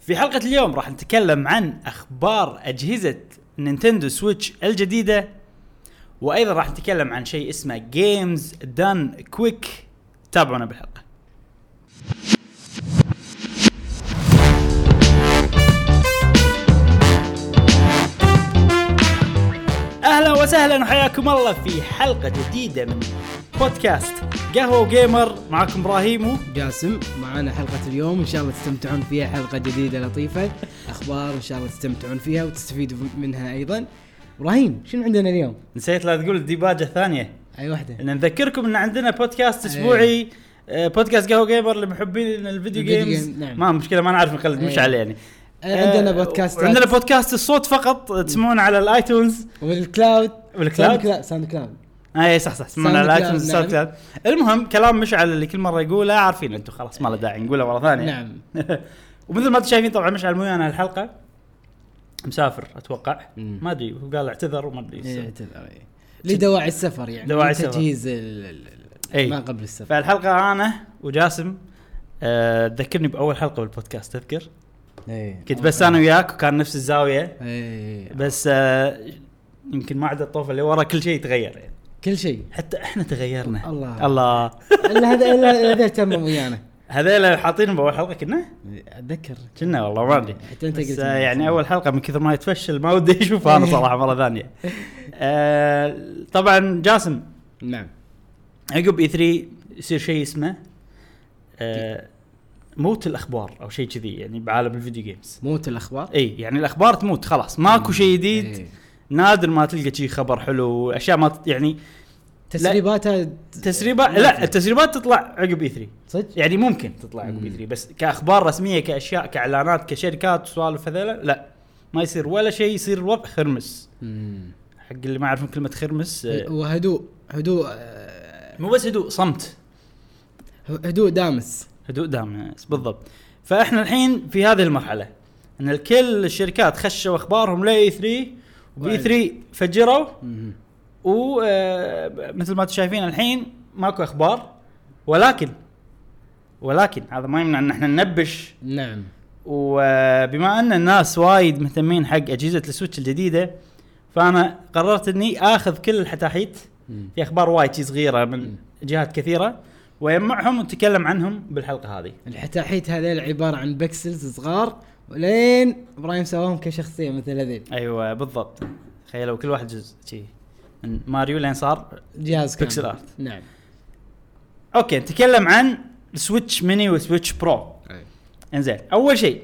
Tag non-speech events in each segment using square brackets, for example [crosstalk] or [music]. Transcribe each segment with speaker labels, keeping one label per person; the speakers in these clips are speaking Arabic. Speaker 1: في حلقة اليوم راح نتكلم عن اخبار اجهزة نينتندو سويتش الجديدة وايضا راح نتكلم عن شيء اسمه جيمز دان كويك تابعونا بالحلقة اهلا وسهلا وحياكم الله في حلقة جديدة من بودكاست قهوة جيمر معكم ابراهيم
Speaker 2: جاسم معنا حلقة اليوم إن شاء الله تستمتعون فيها حلقة جديدة لطيفة أخبار إن شاء الله تستمتعون فيها وتستفيدوا منها أيضا إبراهيم شنو عندنا اليوم؟
Speaker 1: نسيت لا تقول الديباجة الثانية
Speaker 2: أي واحدة؟ أه،
Speaker 1: ان نذكركم ان عندنا بودكاست
Speaker 2: إيه.
Speaker 1: اسبوعي آه، بودكاست قهوه جيمر لمحبين الفيديو
Speaker 2: الفيديو
Speaker 1: جيمز
Speaker 2: جيم، نعم.
Speaker 1: ما مشكله ما نعرف نقلد مش
Speaker 2: أي.
Speaker 1: عليه يعني
Speaker 2: آه، عندنا
Speaker 1: آه،
Speaker 2: بودكاست
Speaker 1: عندنا بودكاست الصوت فقط تسمعون على الايتونز
Speaker 2: والكلاود
Speaker 1: والكلاود؟
Speaker 2: ساوند كلاود- ساوند كلاود
Speaker 1: اي آه، إيه، صح صح تسمعون على
Speaker 2: ساوند
Speaker 1: الايتونز
Speaker 2: كلاود،
Speaker 1: ساوند كلاود المهم كلام مشعل اللي كل مره يقوله عارفين انتم خلاص ما له داعي نقوله مره ثانيه
Speaker 2: نعم
Speaker 1: [laughs] ومثل ما انتم شايفين طبعا مشعل مو ويانا الحلقه مسافر اتوقع
Speaker 2: مم.
Speaker 1: ما ادري هو قال اعتذر وما ادري
Speaker 2: إيه،
Speaker 1: إيش.
Speaker 2: اعتذر إيه. لدواعي السفر يعني
Speaker 1: دواعي السفر. إيه.
Speaker 2: تجهيز ال- ال- ال-
Speaker 1: أي.
Speaker 2: ما قبل السفر
Speaker 1: فالحلقه انا وجاسم آه، تذكرني باول حلقه بالبودكاست تذكر
Speaker 2: إيه.
Speaker 1: كنت بس انا وياك وكان نفس الزاويه
Speaker 2: إيه.
Speaker 1: بس آه، يمكن ما عدا الطوفه اللي ورا كل شيء تغير يعني
Speaker 2: كل
Speaker 1: [laughs]
Speaker 2: شيء
Speaker 1: حتى احنا تغيرنا
Speaker 2: الله.
Speaker 1: الله
Speaker 2: الا هذا الا هذا اهتم ويانا
Speaker 1: هذيلا حاطينهم باول حلقه كنا؟
Speaker 2: اتذكر
Speaker 1: كنا والله ما ادري
Speaker 2: حتى أنت
Speaker 1: بس،
Speaker 2: قلت
Speaker 1: آه،
Speaker 2: لي.
Speaker 1: يعني اول حلقه من كثر ما يتفشل ما ودي اشوفها انا صراحه مره
Speaker 2: [laughs]
Speaker 1: ثانيه. آه، طبعا جاسم
Speaker 2: نعم
Speaker 1: عقب اي 3 يصير شيء اسمه آه، موت الاخبار او شيء كذي يعني بعالم الفيديو جيمز.
Speaker 2: موت الاخبار
Speaker 1: اي يعني الاخبار تموت خلاص ماكو شيء جديد
Speaker 2: إيه.
Speaker 1: نادر ما تلقى شيء خبر حلو اشياء ما ت- يعني
Speaker 2: تسريباتها
Speaker 1: تسريبات لا التسريبات تطلع عقب اي 3
Speaker 2: صدق
Speaker 1: يعني ممكن تطلع عقب اي 3 بس كاخبار رسميه كاشياء كاعلانات كشركات وسوالف هذيلا لا ما يصير ولا شيء يصير الوضع خرمس
Speaker 2: مم.
Speaker 1: حق اللي ما يعرفون كلمه خرمس آه،
Speaker 2: وهدوء هدوء آه،
Speaker 1: مو بس هدوء صمت
Speaker 2: هدوء دامس
Speaker 1: هدوء دامس بالضبط فاحنا الحين في هذه المرحله ان الكل الشركات خشوا E اخبارهم لاي 3 وبي 3 E فجروا ومثل آه، ما انتم شايفين الحين ماكو اخبار ولكن ولكن هذا ما يمنع ان احنا ننبش
Speaker 2: نعم
Speaker 1: وبما ان الناس وايد مهتمين حق اجهزه السويتش الجديده فانا قررت اني اخذ كل الحتاحيت في اخبار وايد شي صغيره من
Speaker 2: مم.
Speaker 1: جهات كثيره ويجمعهم ونتكلم عنهم بالحلقه هذه
Speaker 2: الحتاحيت هذيل عباره عن بكسلز صغار ولين ابراهيم سواهم كشخصيه مثل هذيل
Speaker 1: ايوه بالضبط تخيلوا كل واحد جزء شي من ماريو لين صار
Speaker 2: جهاز كامل.
Speaker 1: بيكسل آرت.
Speaker 2: نعم
Speaker 1: اوكي نتكلم عن سويتش ميني وسويتش برو انزين اول شيء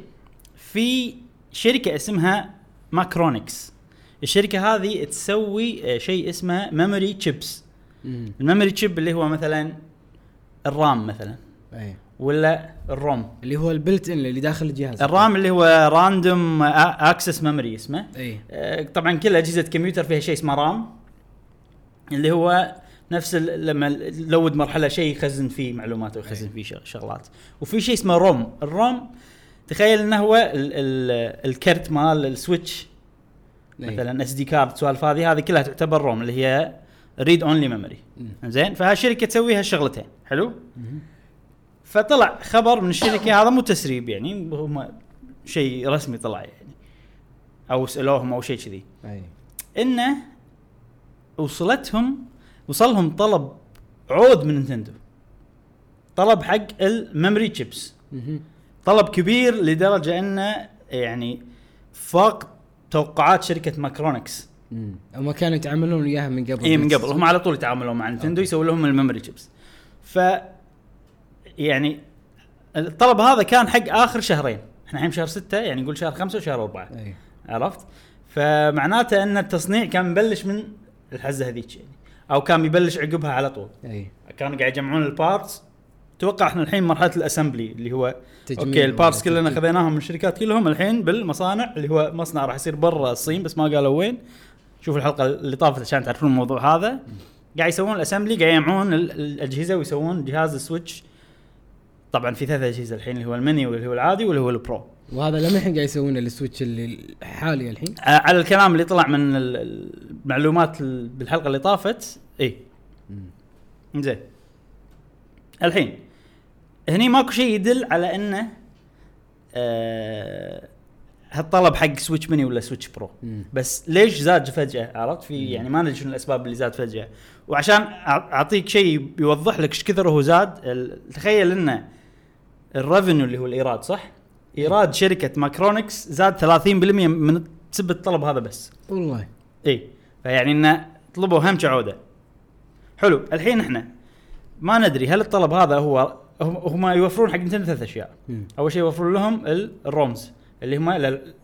Speaker 1: في شركه اسمها ماكرونكس الشركه هذه تسوي آه، شيء اسمه ميموري تشيبس
Speaker 2: مم.
Speaker 1: الميموري تشيب اللي هو مثلا الرام مثلا
Speaker 2: أي.
Speaker 1: ولا الروم
Speaker 2: اللي هو البلت ان اللي داخل الجهاز
Speaker 1: الرام اللي هو راندوم اكسس ميموري اسمه
Speaker 2: اي
Speaker 1: آه، طبعا كل اجهزه كمبيوتر فيها شيء اسمه رام اللي هو نفس ال- لما لود مرحله شيء يخزن فيه معلومات ويخزن
Speaker 2: أي.
Speaker 1: فيه شغ- شغلات وفي شيء اسمه روم الروم تخيل انه هو ال ال الكرت مال السويتش
Speaker 2: أي.
Speaker 1: مثلا اس دي كارد سوالف هذه هذه كلها تعتبر روم اللي هي ريد اونلي ميموري
Speaker 2: مم.
Speaker 1: زين فهالشركه تسوي هالشغلتين حلو فطلع خبر من الشركه هذا مو تسريب يعني هم شيء رسمي طلع يعني او سالوهم او شيء كذي
Speaker 2: اي
Speaker 1: انه وصلتهم وصلهم طلب عود من نينتندو طلب حق الميموري تشيبس
Speaker 2: مهم.
Speaker 1: طلب كبير لدرجه انه يعني فاق توقعات شركه ماكرونكس
Speaker 2: مم. هم كانوا يتعاملون وياها من قبل
Speaker 1: اي إيه، من قبل هم على طول يتعاملوا مع نينتندو يسووا لهم الميموري تشيبس ف يعني الطلب هذا كان حق اخر شهرين احنا الحين شهر ستة يعني نقول شهر خمسة وشهر أربعة
Speaker 2: اي
Speaker 1: عرفت؟ فمعناته ان التصنيع كان مبلش من الحزه هذيك يعني او كان بيبلش عقبها على طول
Speaker 2: اي
Speaker 1: كانوا قاعد يجمعون البارتس اتوقع احنا الحين مرحله الاسمبلي اللي هو
Speaker 2: تجميع
Speaker 1: اوكي البارتس
Speaker 2: وتركيب.
Speaker 1: كلنا خذيناهم من الشركات كلهم الحين بالمصانع اللي هو مصنع راح يصير برا الصين بس ما قالوا وين شوفوا الحلقه اللي طافت عشان تعرفون الموضوع هذا قاعد يسوون الاسمبلي قاعد يجمعون ال- الاجهزه ويسوون جهاز السويتش طبعا في ثلاث اجهزه الحين اللي هو المني واللي هو العادي واللي هو البرو
Speaker 2: وهذا لما الحين قاعد يسوونه السويتش اللي حالي الحين
Speaker 1: آه، على الكلام اللي طلع من ال- ال- المعلومات ال- بالحلقه اللي طافت إيه، اي زين الحين هني ماكو شيء يدل على انه آه، آه هالطلب حق سويتش ميني ولا سويتش برو
Speaker 2: مم.
Speaker 1: بس ليش زاد فجاه عرفت في يعني ما ندري شنو الاسباب اللي زاد فجاه وعشان أع- اعطيك شيء يوضح لك ايش كثر هو زاد ال- تخيل انه الريفنيو اللي هو الايراد صح ايراد شركه ماكرونكس زاد 30% من سبب الطلب هذا بس
Speaker 2: والله
Speaker 1: اي فيعني انه طلبوا هم عوده حلو الحين احنا ما ندري هل الطلب هذا هو هم- هم يوفرون حق نتندو ثلاث اشياء
Speaker 2: مم.
Speaker 1: اول شيء يوفرون لهم ال- الرومز اللي هم ال-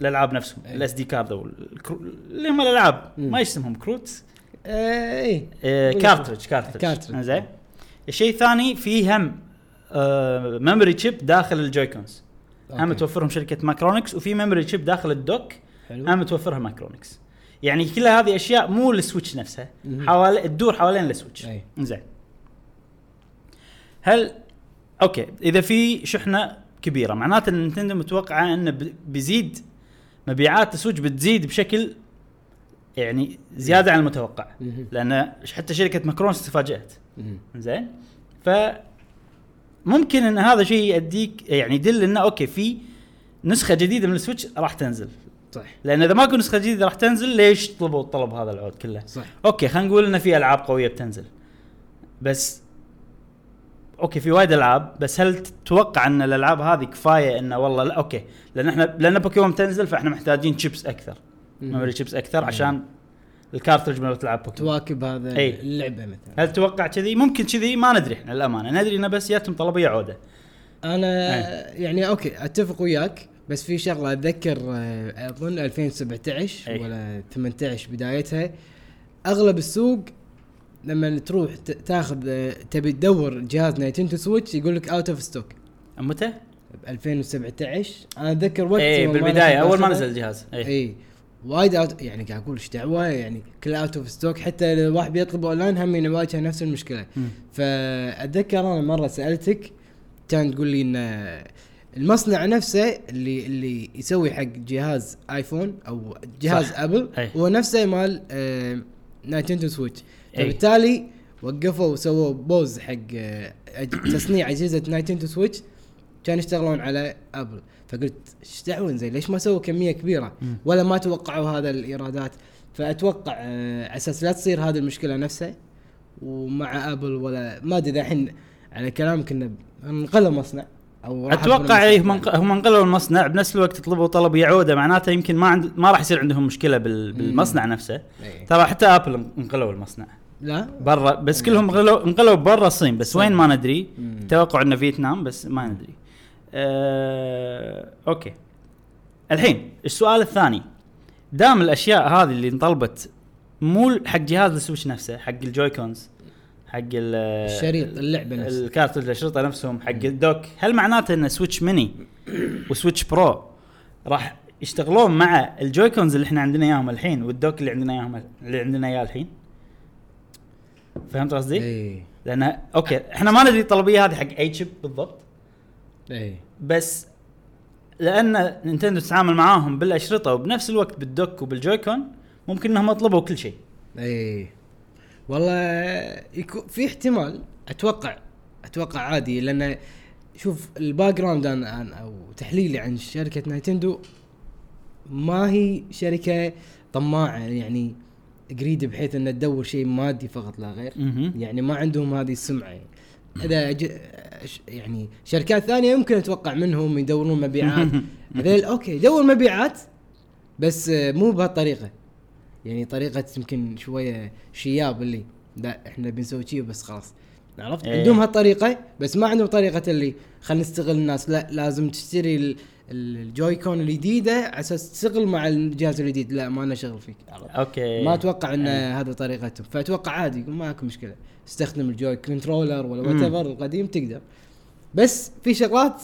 Speaker 1: الالعاب نفسهم
Speaker 2: أي.
Speaker 1: الاس دي كارد او الكرو- اللي هم الالعاب
Speaker 2: مم.
Speaker 1: ما اسمهم كروت
Speaker 2: آه، اي
Speaker 1: آه
Speaker 2: بالضبط.
Speaker 1: كارترج كارترج
Speaker 2: كارترج.
Speaker 1: زين الشيء الثاني في هم ميموري تشيب داخل الجويكونز هم
Speaker 2: أوكي.
Speaker 1: توفرهم شركه ماكرونكس وفي ميموري تشيب داخل الدوك
Speaker 2: حلو
Speaker 1: هم توفرها ماكرونكس يعني كل هذه اشياء مو السويتش نفسها
Speaker 2: مهم.
Speaker 1: حوالي تدور حوالين السويتش
Speaker 2: أي.
Speaker 1: زين هل اوكي اذا في شحنه كبيره معناته ان نتندو متوقعه انه ب- بيزيد مبيعات السويتش بتزيد بشكل يعني زياده عن المتوقع
Speaker 2: مهم.
Speaker 1: لان ش- حتى شركه ماكرونكس تفاجات
Speaker 2: مم.
Speaker 1: زين ف ممكن ان هذا شيء يؤديك يعني يدل انه اوكي في نسخه جديده من السويتش راح تنزل
Speaker 2: صح
Speaker 1: لان اذا ماكو نسخه جديده راح تنزل ليش طلبوا الطلب هذا العود كله؟
Speaker 2: صح
Speaker 1: اوكي خلينا نقول ان في العاب قويه بتنزل بس اوكي في وايد العاب بس هل تتوقع ان الالعاب هذه كفايه انه والله لا اوكي لان احنا لان بوكيمون تنزل فاحنا محتاجين شيبس اكثر
Speaker 2: مم.
Speaker 1: ميموري شيبس اكثر عشان الكارترج مال تلعب بوكيمون
Speaker 2: تواكب هذا
Speaker 1: أي.
Speaker 2: اللعبه مثلا
Speaker 1: هل تتوقع كذي؟ ممكن كذي ما ندري احنا للامانه ندري انه بس جاتهم طلبيه عوده
Speaker 2: انا يعني اوكي اتفق وياك بس في شغله اتذكر آه، اظن 2017
Speaker 1: أي.
Speaker 2: ولا 18 بدايتها اغلب السوق لما تروح ت- تاخذ آه، تبي تدور جهاز نينتندو سويتش يقول لك اوت اوف ستوك
Speaker 1: متى؟
Speaker 2: ب 2017 انا اتذكر وقت
Speaker 1: اي
Speaker 2: يوم ما إيه.
Speaker 1: بالبدايه
Speaker 2: أنا
Speaker 1: اول إيه، ما
Speaker 2: داخلها.
Speaker 1: نزل إيه. الجهاز اي
Speaker 2: اي وايد اوت يعني قاعد اقول ايش دعوه يعني كل اوت اوف ستوك حتى لو الواحد بيطلب اونلاين هم يواجه نفس المشكله
Speaker 1: مم.
Speaker 2: فاتذكر انا مره سالتك كان تقول لي ان المصنع نفسه اللي اللي يسوي حق جهاز ايفون او جهاز
Speaker 1: صح. إيه.
Speaker 2: ابل
Speaker 1: أي.
Speaker 2: هو نفسه مال آه نايتندو سويتش
Speaker 1: أي.
Speaker 2: فبالتالي وقفوا وسووا بوز حق آه، أج- [coughs] تصنيع اجهزه نايتندو سويتش كانوا يشتغلون على ابل فقلت ايش دعوه زين ليش ما سووا كميه كبيره
Speaker 1: مم.
Speaker 2: ولا ما توقعوا هذا الايرادات فاتوقع آه، على اساس لا تصير هذه المشكله نفسها ومع ابل ولا ما ادري إذا الحين على كلامك انه انقلب مصنع او راح
Speaker 1: اتوقع
Speaker 2: يكون
Speaker 1: إيه،
Speaker 2: مصنع.
Speaker 1: هم هم انقلوا المصنع بنفس الوقت طلبوا طلب يعوده معناته يمكن ما عند ما راح يصير عندهم مشكله بال... بالمصنع نفسه
Speaker 2: إيه.
Speaker 1: ترى حتى ابل انقلوا المصنع
Speaker 2: لا
Speaker 1: برا بس كلهم انقلوا انقلوا برا الصين بس
Speaker 2: الصين.
Speaker 1: وين ما ندري
Speaker 2: مم.
Speaker 1: توقع انه فيتنام بس ما ندري أه... اوكي الحين السؤال الثاني دام الاشياء هذه اللي انطلبت مو حق جهاز السويتش نفسه حق الجويكونز حق ال-
Speaker 2: الشريط، اللعبة نفسها.
Speaker 1: الكارترج الشريطه نفسهم حق الدوك هل معناته ان سويتش ميني وسويتش برو راح يشتغلون مع الجويكونز اللي احنا عندنا اياهم الحين والدوك اللي عندنا اياهم اللي عندنا اياه الحين فهمت قصدي؟
Speaker 2: اي
Speaker 1: لان اوكي احنا ما ندري الطلبيه هذه حق اي شيب بالضبط
Speaker 2: اي
Speaker 1: بس لان نينتندو تتعامل معاهم بالاشرطه وبنفس الوقت بالدوك وبالجويكون ممكن انهم طلبوا كل شيء
Speaker 2: اي إيه. والله يكو في احتمال اتوقع اتوقع عادي لان شوف الباك جراوند انا أنا- او تحليلي عن شركه نايتندو ما هي شركه طماعه يعني قريده بحيث انها تدور شيء مادي فقط لا غير
Speaker 1: مهم.
Speaker 2: يعني ما عندهم هذه السمعه يعني. اذا ج... ش- يعني شركات ثانيه يمكن اتوقع منهم
Speaker 1: [laughs]
Speaker 2: يدورون مبيعات هذيل اوكي دور مبيعات بس آه، مو بهالطريقه يعني طريقه يمكن شويه شياب اللي لا احنا بنسوي شيء بس خلاص عرفت
Speaker 1: إيه.
Speaker 2: عندهم هالطريقه بس ما عندهم طريقه اللي خلينا نستغل الناس لا لازم تشتري ال... ال- الجويكون الجديده على اساس تشتغل مع الجهاز الجديد لا ما لنا شغل فيك عرفت
Speaker 1: اوكي
Speaker 2: ما اتوقع ان
Speaker 1: يعني.
Speaker 2: هذا طريقتهم فاتوقع عادي يقول ماكو مشكله استخدم الجوي كنترولر ولا
Speaker 1: مم.
Speaker 2: وات القديم تقدر بس في شغلات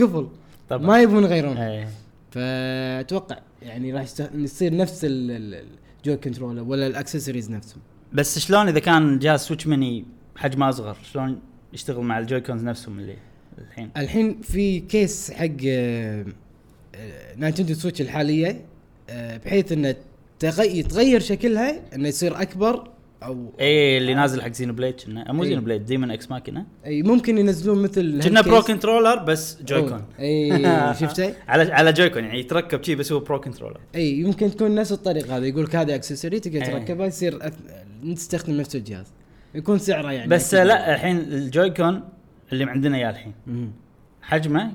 Speaker 2: قفل
Speaker 1: طبعا
Speaker 2: ما يبون يغيرونها
Speaker 1: إيه.
Speaker 2: فاتوقع يعني راح يست- يصير نفس ال- ال- الجوي كنترولر ولا الاكسسوارز نفسهم
Speaker 1: بس شلون اذا كان جهاز سويتش ميني حجمه اصغر شلون يشتغل مع الجويكونز نفسهم اللي الحين
Speaker 2: الحين في كيس حق آه، آه، نينتندو سويتش الحاليه آه، بحيث انه تغي- يتغير شكلها انه يصير اكبر او
Speaker 1: اي ايه، اللي نازل حق زين بليد كنا مو
Speaker 2: إيه.
Speaker 1: زين بليد ديمون اكس ماكينه
Speaker 2: اي ممكن ينزلون مثل
Speaker 1: كنا برو كنترولر بس جويكون [laughs]
Speaker 2: اي شفته؟
Speaker 1: على على جويكون يعني يتركب شي بس هو برو كنترولر
Speaker 2: اي يمكن تكون نفس الطريقه هذا يقول لك هذا اكسسوري تقدر
Speaker 1: إيه.
Speaker 2: تركبه يصير أث... تستخدم نفس الجهاز يكون سعره يعني
Speaker 1: بس
Speaker 2: أكيد.
Speaker 1: لا الحين الجويكون اللي عندنا اياه الحين
Speaker 2: مم.
Speaker 1: حجمه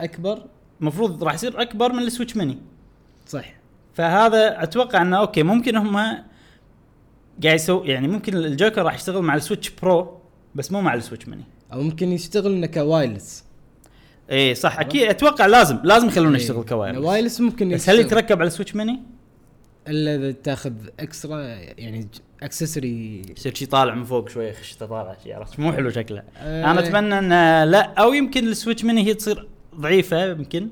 Speaker 2: اكبر
Speaker 1: المفروض راح يصير اكبر من السويتش ميني
Speaker 2: صح
Speaker 1: فهذا اتوقع انه اوكي ممكن هم قاعد يسوي يعني ممكن الجويكون راح يشتغل مع السويتش برو بس مو مع السويتش ميني
Speaker 2: او ممكن يشتغل انه كوايرلس
Speaker 1: اي إيه، صح اكيد اتوقع لازم لازم يخلونه
Speaker 2: إي.
Speaker 1: يشتغل
Speaker 2: إنه
Speaker 1: كوايرلس
Speaker 2: إيه. وايرلس ممكن
Speaker 1: بس هل
Speaker 2: يشتغل.
Speaker 1: يتركب على السويتش ميني؟
Speaker 2: الا اذا تاخذ اكسترا يعني اكسسوري
Speaker 1: يصير شي طالع من فوق شويه خشته طالع شي عرفت مو حلو شكله
Speaker 2: آه.
Speaker 1: انا اتمنى ان لا او يمكن السويتش ميني هي تصير ضعيفه يمكن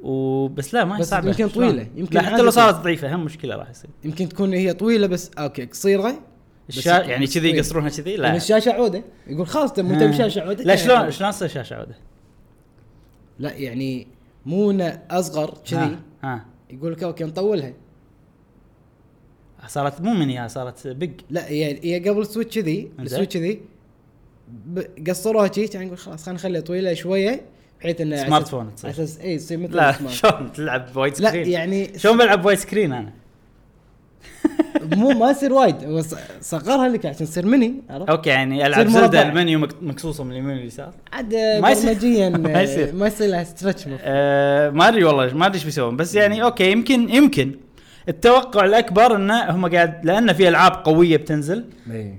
Speaker 1: وبس لا ما هي
Speaker 2: بس
Speaker 1: صعبه
Speaker 2: يمكن
Speaker 1: شلون؟
Speaker 2: طويلة، يمكن
Speaker 1: لا حتى
Speaker 2: عادي
Speaker 1: لو صارت ضعيفه هم مشكله راح يصير
Speaker 2: يمكن تكون هي طويله بس اوكي قصيره بس
Speaker 1: الشا...
Speaker 2: يمكن
Speaker 1: يعني
Speaker 2: بس
Speaker 1: كذي
Speaker 2: طويلة.
Speaker 1: يقصرونها كذي
Speaker 2: لا
Speaker 1: لا
Speaker 2: الشاشه عوده يقول خلاص طيب، تم يعني. انت
Speaker 1: آه.
Speaker 2: بشاشه عوده
Speaker 1: لا
Speaker 2: كان
Speaker 1: شلون
Speaker 2: عوده.
Speaker 1: شلون تصير شاشه عوده؟
Speaker 2: لا يعني مو إنه اصغر كذي
Speaker 1: ها, ها.
Speaker 2: يقول لك اوكي نطولها
Speaker 1: صارت مو مني ها صارت بيج
Speaker 2: لا هي هي قبل سويتش كذي السويتش كذي ب- قصروها كذي كان يقول خلاص خلينا نخليها طويله شويه بحيث انه على
Speaker 1: سمارت
Speaker 2: أساس-
Speaker 1: فون تصير.
Speaker 2: على اساس اي تصير مثل
Speaker 1: لا
Speaker 2: السمارت.
Speaker 1: شلون تلعب وايد
Speaker 2: لا
Speaker 1: سكرين؟
Speaker 2: يعني
Speaker 1: شلون بلعب وايد سكرين انا؟
Speaker 2: مو ما يصير وايد هو ص- صغرها لك عشان تصير ميني عرفت؟
Speaker 1: اوكي يعني العب
Speaker 2: تصير
Speaker 1: زلده
Speaker 2: مربع.
Speaker 1: المنيو مك- مقصوصه من اليمين واليسار
Speaker 2: عاد
Speaker 1: ما يصير. [laughs]
Speaker 2: برمجيا
Speaker 1: ما
Speaker 2: آه،
Speaker 1: يصير.
Speaker 2: ما يصير لها ستريتش مف-
Speaker 1: أه ما ادري والله ما ادري ايش بيسوون بس يعني اوكي يمكن يمكن التوقع الاكبر انه هم قاعد لان في العاب قويه بتنزل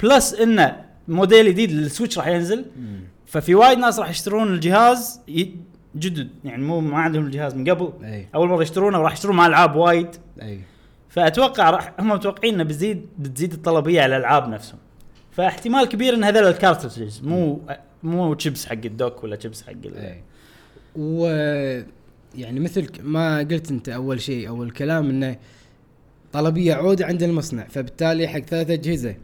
Speaker 1: بلس انه موديل جديد للسويتش راح ينزل
Speaker 2: مم.
Speaker 1: ففي وايد ناس راح يشترون الجهاز ي- جدد يعني مو ما عندهم الجهاز من قبل
Speaker 2: اي
Speaker 1: اول مره يشترونه وراح يشترون مع العاب وايد
Speaker 2: اي
Speaker 1: فاتوقع راح هم متوقعين انه بتزيد بتزيد الطلبيه على الالعاب نفسهم فاحتمال كبير ان هذول الكارترجز مو مو تشيبس حق الدوك ولا تشيبس حق ال-
Speaker 2: اي و يعني مثل ك- ما قلت انت اول شيء اول كلام انه طلبيه عوده عند المصنع فبالتالي حق ثلاث اجهزه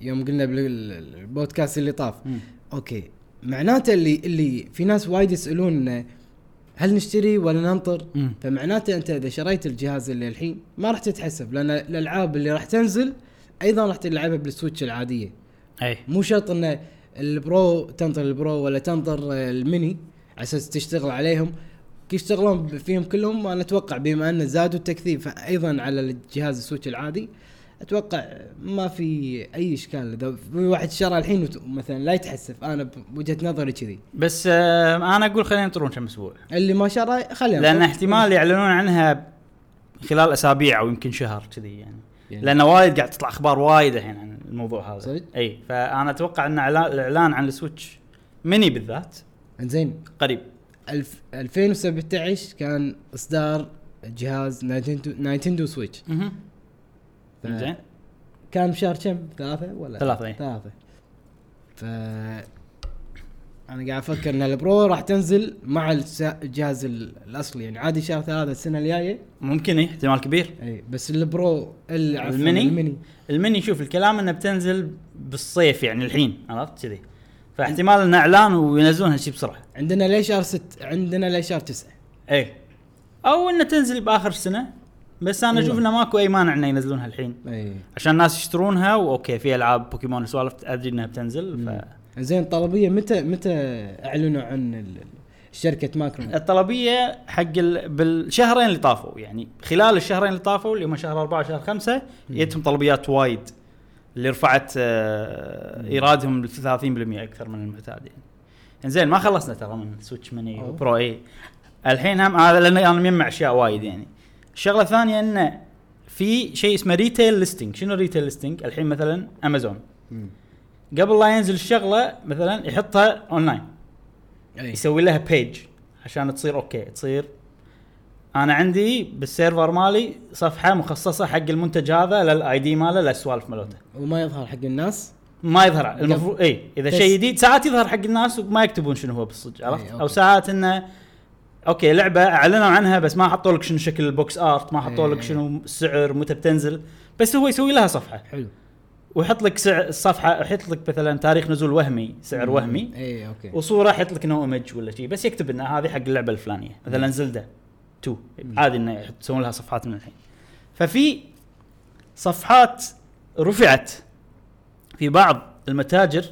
Speaker 2: يوم قلنا بالبودكاست اللي طاف
Speaker 1: مم.
Speaker 2: اوكي معناته اللي اللي في ناس وايد يسالون إنه هل نشتري ولا ننطر؟
Speaker 1: مم.
Speaker 2: فمعناته انت اذا شريت الجهاز اللي الحين ما راح تتحسب لان الالعاب اللي راح تنزل ايضا راح تلعبها بالسويتش العاديه
Speaker 1: اي
Speaker 2: مو شرط ان البرو تنطر البرو ولا تنطر الميني على اساس تشتغل عليهم يشتغلون ب- فيهم كلهم انا اتوقع بما انه زادوا التكثيف ايضا على الجهاز السويتش العادي اتوقع ما في اي اشكال اذا في واحد شرى الحين وت- مثلا لا يتحسف انا بوجهه نظري كذي
Speaker 1: بس آه انا اقول خلينا ينطرون كم اسبوع
Speaker 2: اللي ما شرى خليه
Speaker 1: لان احتمال يعلنون عنها خلال اسابيع او يمكن شهر كذي يعني لان وايد قاعد تطلع اخبار وايد الحين عن الموضوع هذا
Speaker 2: صدق؟
Speaker 1: اي فانا اتوقع ان إعلان- الاعلان عن السويتش ميني بالذات
Speaker 2: انزين
Speaker 1: قريب
Speaker 2: الف- 2017 كان اصدار جهاز نايتندو نايتندو سويتش ف-
Speaker 1: زين
Speaker 2: كان بشهر كم؟ ثلاثة ولا؟
Speaker 1: ثلاثة، إيه.
Speaker 2: ثلاثة. ف انا قاعد افكر ان البرو راح تنزل مع الس- الجهاز ال- الاصلي يعني عادي شهر ثلاثة السنة الجاية
Speaker 1: ممكن اي احتمال كبير
Speaker 2: اي بس البرو ال- عفواً،
Speaker 1: الميني؟
Speaker 2: الميني
Speaker 1: المني شوف الكلام انه بتنزل بالصيف يعني الحين عرفت كذي فاحتمال انه اعلان وينزلون هالشي بسرعه
Speaker 2: عندنا ليه شهر ست عندنا ليه شهر تسعة
Speaker 1: اي او انه تنزل باخر السنه بس انا اشوف
Speaker 2: أيوة.
Speaker 1: انه ماكو اي مانع انه ينزلونها الحين
Speaker 2: اي
Speaker 1: عشان الناس يشترونها واوكي في العاب بوكيمون سوالف ادري انها بتنزل ف
Speaker 2: زين طلبية متى متى اعلنوا عن ال- ال- شركة ماكرون؟
Speaker 1: الطلبيه حق ال... بالشهرين اللي طافوا يعني خلال الشهرين اللي طافوا اللي هم شهر أربعة وشهر خمسة جتهم طلبيات وايد اللي رفعت آه، ايرادهم ب 30% اكثر من المعتاد يعني. انزين ما خلصنا ترى من سويتش ميني
Speaker 2: أوه.
Speaker 1: وبرو اي إيه. الحين هم هذا لان انا مجمع اشياء وايد يعني. الشغله الثانيه انه في شيء اسمه ريتيل ليستنج، شنو ريتيل ليستنج؟ الحين مثلا امازون قبل لا ينزل الشغله مثلا يحطها اونلاين
Speaker 2: اي
Speaker 1: يسوي لها بيج عشان تصير اوكي تصير انا عندي بالسيرفر مالي صفحه مخصصه حق المنتج هذا للاي دي ماله للسوالف مالته
Speaker 2: وما يظهر حق الناس
Speaker 1: ما يظهر المفروض اي اذا
Speaker 2: بس-
Speaker 1: شيء جديد ساعات يظهر حق الناس وما يكتبون شنو هو بالصدق
Speaker 2: إي،
Speaker 1: عرفت
Speaker 2: أوكي.
Speaker 1: او ساعات انه اوكي لعبه اعلنوا عنها بس ما حطوا لك شنو شكل البوكس ارت ما حطوا لك
Speaker 2: إي.
Speaker 1: شنو السعر متى بتنزل بس هو يسوي لها صفحه
Speaker 2: حلو
Speaker 1: ويحط لك سعر الصفحه يحط لك مثلا تاريخ نزول وهمي سعر وهمي
Speaker 2: اي اوكي
Speaker 1: وصوره يحط لك نو ايمج ولا شيء بس يكتب ان هذه حق اللعبه الفلانيه مثلا زلدة 2 عادي انه يحط- يسوون لها صفحات من الحين ففي صفحات رفعت في بعض المتاجر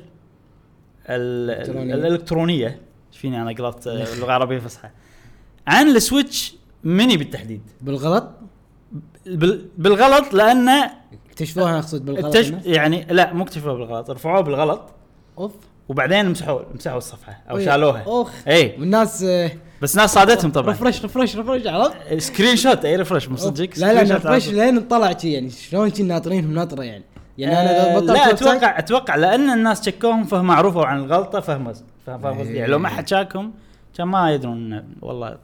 Speaker 1: ال-
Speaker 2: الإلكترونية.
Speaker 1: الالكترونيه ايش فيني انا قرأت
Speaker 2: [laughs]
Speaker 1: آه، لغه عربيه فصحى عن السويتش ميني بالتحديد
Speaker 2: بالغلط
Speaker 1: بال- بالغلط لانه
Speaker 2: اكتشفوها اقصد بالغلط
Speaker 1: التش...
Speaker 2: الناس.
Speaker 1: يعني لا مو اكتشفوه بالغلط رفعوه بالغلط
Speaker 2: اوف
Speaker 1: وبعدين مسحوا مسحوا الصفحه او
Speaker 2: أوي.
Speaker 1: شالوها إيه.
Speaker 2: اوخ
Speaker 1: اي
Speaker 2: والناس آه،
Speaker 1: بس ناس صادتهم طبعا
Speaker 2: رفرش رفرش رفرش عرفت؟
Speaker 1: سكرين شوت اي رفرش مو
Speaker 2: أوف.
Speaker 1: صدقك
Speaker 2: لا
Speaker 1: سكرين
Speaker 2: لا
Speaker 1: شوت
Speaker 2: رفرش
Speaker 1: على
Speaker 2: لين طلع شي يعني شلون شي ناطرينهم ناطره يعني يعني
Speaker 1: آه،
Speaker 2: انا بطلت
Speaker 1: لا
Speaker 2: ويب سايت.
Speaker 1: اتوقع اتوقع لان الناس شكوهم فهم عرفوا عن الغلطه فهم فهم فهم قصدي
Speaker 2: إيه.
Speaker 1: يعني لو ما حد شاكهم كان ما يدرون إنه والله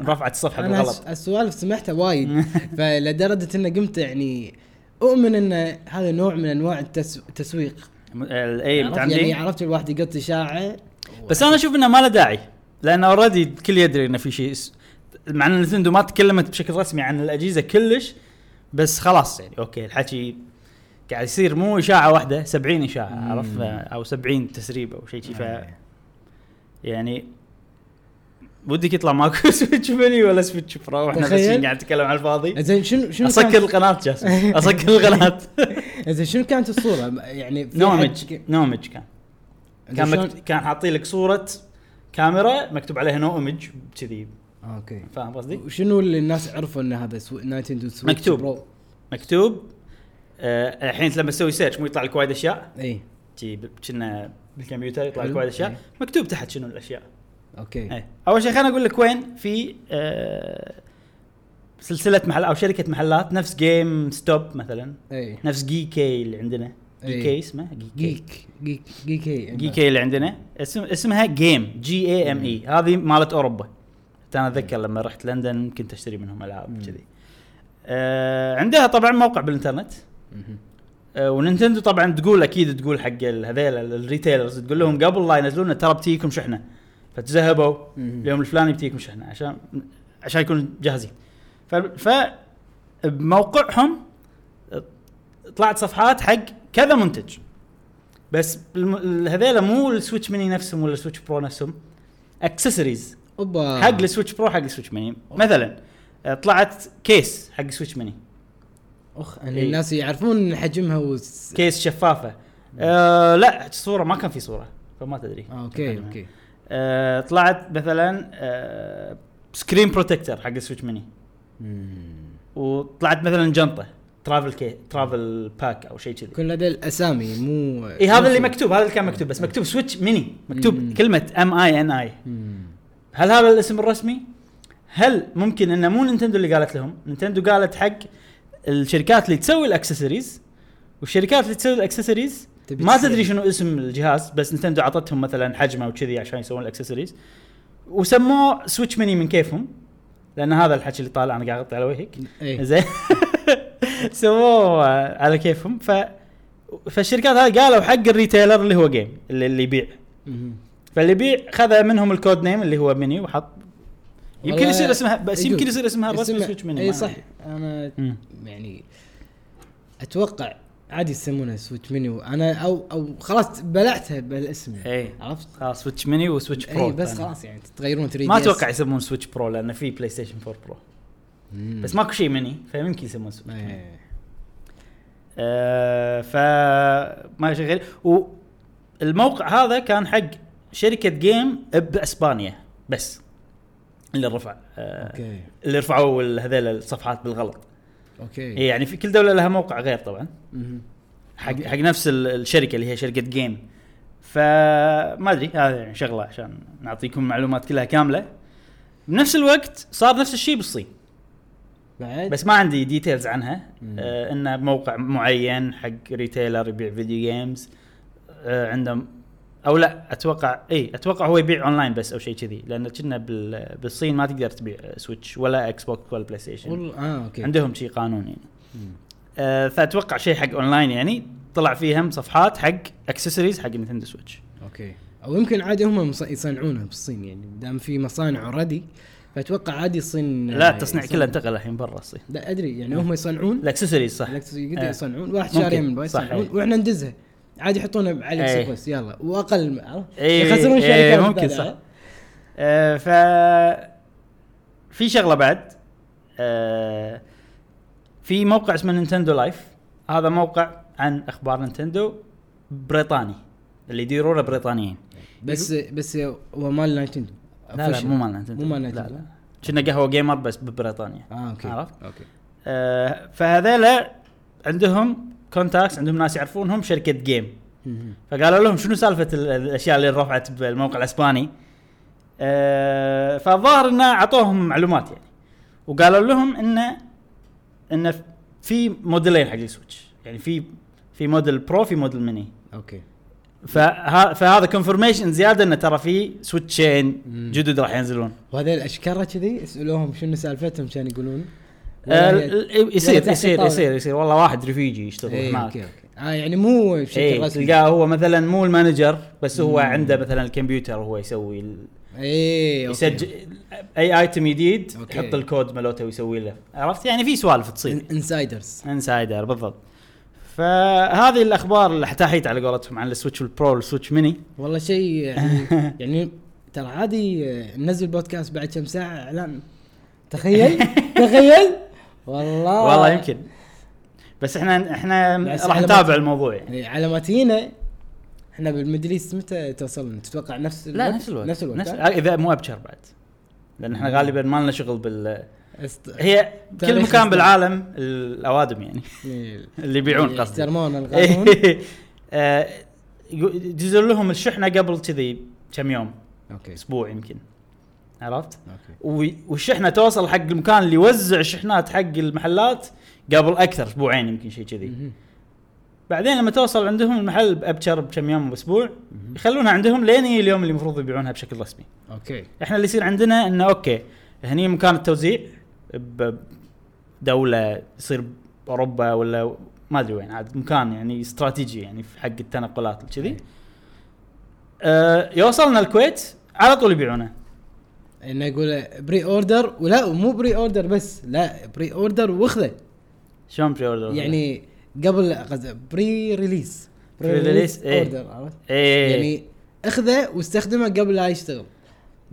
Speaker 1: رفعت الصفحه
Speaker 2: انا
Speaker 1: بالغلط
Speaker 2: هالس- هالسوالف سمعتها وايد [laughs] فلدرجه انه قمت يعني اؤمن ان هذا نوع من انواع التس- التسويق
Speaker 1: م- ال- اي
Speaker 2: عرفت؟ يعني
Speaker 1: إيه، متعمدين
Speaker 2: عرفت الواحد يقط اشاعه
Speaker 1: بس انا اشوف انه ما له داعي لان اوريدي الكل يدري انه في شيء اس- مع ان نتندو ما تكلمت بشكل رسمي عن الاجهزه كلش بس خلاص يعني اوكي الحكي قاعد يصير مو اشاعه واحده 70 اشاعه
Speaker 2: مم. آه.
Speaker 1: عرفت او 70 تسريب او شيء شي ف يعني ودك يطلع ماكو [laughs] سويتش ميني ولا سويتش برو واحنا بس
Speaker 2: تخيل.
Speaker 1: قاعد نتكلم على الفاضي
Speaker 2: زين شنو شنو
Speaker 1: اسكر
Speaker 2: كانت-
Speaker 1: القناه جاسم
Speaker 2: [laughs]
Speaker 1: اسكر القناه
Speaker 2: زين شنو كانت الصوره يعني في
Speaker 1: نومج
Speaker 2: حد-
Speaker 1: نومج كان كان
Speaker 2: زين
Speaker 1: مكت... كان حاطين لك صوره كاميرا مكتوب عليها نومج كذي
Speaker 2: اوكي
Speaker 1: فاهم قصدي؟
Speaker 2: وشنو اللي الناس عرفوا ان هذا سو... نايتندو سويتش
Speaker 1: مكتوب.
Speaker 2: برو
Speaker 1: مكتوب آه الحين لما تسوي سيرش مو يطلع لك وايد اشياء
Speaker 2: اي
Speaker 1: جي ب- كنا بالكمبيوتر يطلع لك
Speaker 2: حلو.
Speaker 1: وايد
Speaker 2: إيه.
Speaker 1: اشياء مكتوب تحت شنو الاشياء
Speaker 2: اوكي
Speaker 1: ايه اول شيء خليني اقول لك وين في آه سلسله محل او شركه محلات نفس جيم ستوب مثلا
Speaker 2: اي
Speaker 1: نفس جي كي اللي عندنا جي
Speaker 2: إيه.
Speaker 1: كي اسمه جي كي
Speaker 2: جيك جيك جيك اي
Speaker 1: جي كي إيه اللي عندنا اسم اسمها جيم جي اي ام اي E. هذه مالت اوروبا حتى انا اتذكر لما رحت لندن كنت اشتري منهم
Speaker 2: مم.
Speaker 1: العاب كذي آه عندها طبعا موقع بالانترنت آه، ونينتندو طبعا تقول اكيد تقول حق ال- هذيل ال- الريتيلرز تقول لهم قبل لا ينزلون ترى بتجيكم شحنه فتذهبوا
Speaker 2: مم.
Speaker 1: اليوم الفلاني بتجيكم شحنه عشان عشان يكونوا جاهزين ف, ف بموقعهم آه، طلعت صفحات حق كذا منتج بس الم- ال- هذيلا مو السويتش ميني نفسهم ولا السويتش برو نفسهم اكسسوارز
Speaker 2: اوبا
Speaker 1: حق السويتش برو حق السويتش ميني مثلا آه، طلعت كيس حق السويتش ميني
Speaker 2: اخ يعني
Speaker 1: إي.
Speaker 2: الناس يعرفون حجمها وس...
Speaker 1: كيس شفافه آه لا صوره ما كان في صوره فما تدري
Speaker 2: نعم. آه، اوكي اوكي
Speaker 1: آه طلعت مثلا آه سكرين بروتكتر حق السويتش ميني
Speaker 2: مم.
Speaker 1: وطلعت مثلا جنطه ترافل كي ترافل باك او شيء كذي
Speaker 2: كل هذا الاسامي مو
Speaker 1: اي إيه، هذا اللي مكتوب هذا اللي كان مكتوب بس مكتوب سويتش ميني
Speaker 2: مم.
Speaker 1: مكتوب كلمه ام اي ان اي
Speaker 2: مم.
Speaker 1: هل هذا الاسم الرسمي؟ هل ممكن انه مو نينتندو اللي قالت لهم؟ نينتندو قالت حق الشركات اللي تسوي الاكسسوارز والشركات اللي تسوي الاكسسوارز
Speaker 2: تبي
Speaker 1: ما
Speaker 2: تصير.
Speaker 1: تدري شنو اسم الجهاز بس نينتندو عطتهم مثلا حجمه وكذي عشان يسوون الاكسسوارز وسموه سويتش ميني من كيفهم لان هذا الحكي اللي طالع انا قاعد اغطي على وجهك
Speaker 2: اي
Speaker 1: زين [laughs] سووه على كيفهم ف فالشركات هذه قالوا حق الريتيلر اللي هو جيم اللي, اللي يبيع
Speaker 2: مم.
Speaker 1: فاللي يبيع خذ منهم الكود نيم اللي هو ميني وحط يمكن
Speaker 2: والله
Speaker 1: يصير اسمها بس
Speaker 2: يجوز.
Speaker 1: يمكن يصير اسمها الرسمي
Speaker 2: اسمها-
Speaker 1: سويتش ميني
Speaker 2: اي
Speaker 1: ما
Speaker 2: صح
Speaker 1: أدري.
Speaker 2: انا
Speaker 1: مم.
Speaker 2: يعني اتوقع عادي يسمونها سويتش منيو انا او او خلاص بلعتها بالاسم
Speaker 1: اي
Speaker 2: عرفت؟
Speaker 1: خلاص سويتش ميني وسويتش برو
Speaker 2: اي بس
Speaker 1: ثاني.
Speaker 2: خلاص يعني تغيرون 3
Speaker 1: ما اتوقع يسمون سويتش برو لان في بلاي ستيشن 4 برو بس ماكو شيء ميني فيمكن يسمون سويتش
Speaker 2: إيه.
Speaker 1: ميني آه ف ما شيء غير والموقع هذا كان حق شركه جيم باسبانيا بس اللي رفع آه
Speaker 2: اوكي
Speaker 1: اللي رفعوا ال- هذيل الصفحات بالغلط
Speaker 2: اوكي
Speaker 1: إيه، يعني في كل دوله لها موقع غير طبعا
Speaker 2: مهم.
Speaker 1: حق حق نفس ال- الشركه اللي هي شركه جيم فما ادري هذا يعني شغله عشان نعطيكم معلومات كلها كامله بنفس الوقت صار نفس الشيء بالصين
Speaker 2: بعد
Speaker 1: بس ما عندي ديتيلز عنها
Speaker 2: مم.
Speaker 1: آه انه موقع معين حق ريتيلر يبيع فيديو جيمز آه عندهم او لا اتوقع اي اتوقع هو يبيع اونلاين بس او شيء كذي لان كنا بال- بالصين ما تقدر تبيع سويتش ولا اكس بوكس ولا بلاي ستيشن
Speaker 2: والله اه اوكي
Speaker 1: عندهم شيء قانون يعني
Speaker 2: مم.
Speaker 1: آه، فاتوقع شيء حق اونلاين يعني طلع فيه هم صفحات حق اكسسوارز حق نينتندو سويتش
Speaker 2: اوكي او يمكن عادي هم مص- يصنعونها بالصين يعني دام في مصانع اوريدي فاتوقع عادي الصين
Speaker 1: لا التصنيع
Speaker 2: يصنع-
Speaker 1: كله انتقل الحين برا الصين
Speaker 2: لا ادري يعني هم يصنعون
Speaker 1: الاكسسوارز صح
Speaker 2: الاكس يقدر
Speaker 1: آه.
Speaker 2: يصنعون واحد
Speaker 1: ممكن.
Speaker 2: شاريه من باي
Speaker 1: صح،
Speaker 2: يصنعون
Speaker 1: إيه.
Speaker 2: واحنا ندزها عادي يحطونها على
Speaker 1: إيه.
Speaker 2: اكسبرس يلا واقل عرفت؟
Speaker 1: إيه،
Speaker 2: يخسرون
Speaker 1: إيه،
Speaker 2: شركات
Speaker 1: ممكن
Speaker 2: بدالها.
Speaker 1: صح. آه، ف في شغله بعد آه، في موقع اسمه نينتندو لايف هذا موقع عن اخبار نينتندو بريطاني اللي يديرونه بريطانيين
Speaker 2: بس بس هو مال نايتندو
Speaker 1: لا لا مو مال نينتندو
Speaker 2: مو مال
Speaker 1: لا
Speaker 2: نايتندو
Speaker 1: لا كنا قهوه جيمر بس ببريطانيا
Speaker 2: اه اوكي
Speaker 1: عرفت؟
Speaker 2: اوكي
Speaker 1: آه فهذيلا عندهم كونتاكس عندهم ناس يعرفونهم شركه جيم
Speaker 2: مهم.
Speaker 1: فقالوا لهم شنو سالفه ال- الاشياء اللي رفعت بالموقع الاسباني آه فالظاهر انه اعطوهم معلومات يعني وقالوا لهم انه انه في موديلين حق السويتش يعني في في موديل برو في موديل ميني
Speaker 2: اوكي
Speaker 1: فه- فهذا كونفرميشن زياده انه ترى في سويتشين
Speaker 2: مم.
Speaker 1: جدد راح ينزلون
Speaker 2: وهذول اشكره كذي اسالوهم شنو سالفتهم كان يقولون
Speaker 1: آه،
Speaker 2: ولا هي-
Speaker 1: ال-
Speaker 2: ولا
Speaker 1: يصير
Speaker 2: يعني تحت
Speaker 1: يصير
Speaker 2: الطاولة؟
Speaker 1: يصير يصير والله واحد رفيجي يشتغل
Speaker 2: ايه
Speaker 1: معك
Speaker 2: اوكي اوكي اه يعني مو بشكل
Speaker 1: اي
Speaker 2: رسمي
Speaker 1: إيه، تلقاه هو مثلا مو المانجر بس هو عنده مثلا الكمبيوتر هو يسوي ال-
Speaker 2: اي اوكي
Speaker 1: يسجل اي ايتم جديد
Speaker 2: أوكي.
Speaker 1: يحط الكود مالته ويسوي له عرفت يعني في سوالف تصير
Speaker 2: انسايدرز
Speaker 1: انسايدر بالضبط فهذه الاخبار اللي حتحيت على قولتهم عن السويتش البرو والسويتش ميني
Speaker 2: والله شيء
Speaker 1: [laughs]
Speaker 2: يعني يعني ترى عادي آه، ننزل بودكاست بعد كم ساعه اعلان تخيل تخيل والله
Speaker 1: والله يمكن بس احنا احنا
Speaker 2: بس
Speaker 1: راح
Speaker 2: على
Speaker 1: نتابع
Speaker 2: آه. ما-
Speaker 1: الموضوع يعني
Speaker 2: يعني على ما تجينا احنا بالميدل ايست متى توصلنا تتوقع نفس الوقت
Speaker 1: لا نفس الوقت
Speaker 2: نفس الوقت آه، ها؟
Speaker 1: اذا مو ابشر بعد لان احنا غالبا ما لنا شغل بال
Speaker 2: است...
Speaker 1: هي كل
Speaker 2: تاريخ
Speaker 1: مكان
Speaker 2: مستقبل.
Speaker 1: بالعالم الاوادم يعني
Speaker 2: يعني-
Speaker 1: اللي يبيعون
Speaker 2: يعني
Speaker 1: قصدي [laughs]
Speaker 2: يحترمون القانون
Speaker 1: إيه. آه، يقو- يدزون لهم الشحنه قبل كذي كم يوم
Speaker 2: اوكي
Speaker 1: اسبوع يمكن عرفت؟
Speaker 2: اوكي
Speaker 1: وي- والشحنه توصل حق المكان اللي يوزع الشحنات حق المحلات قبل اكثر اسبوعين يمكن شيء كذي
Speaker 2: مهم.
Speaker 1: بعدين لما توصل عندهم المحل بابشر بكم يوم باسبوع يخلونها عندهم لين يجي اليوم اللي المفروض يبيعونها بشكل رسمي
Speaker 2: اوكي
Speaker 1: احنا اللي يصير عندنا انه اوكي هني مكان التوزيع بدوله يصير باوروبا ولا ما ادري وين عاد مكان يعني استراتيجي يعني في حق التنقلات
Speaker 2: إيه.
Speaker 1: وكذي اه يوصلنا الكويت على طول يبيعونه
Speaker 2: انه يقول بري اوردر ولا مو بري اوردر بس لا بري اوردر واخذه
Speaker 1: شلون بري اوردر
Speaker 2: يعني قبل قصد- بري ريليز
Speaker 1: بري ريليز، إيه.
Speaker 2: اوردر عرفت
Speaker 1: ايه يعني
Speaker 2: يعني اخذه واستخدمه قبل لا يشتغل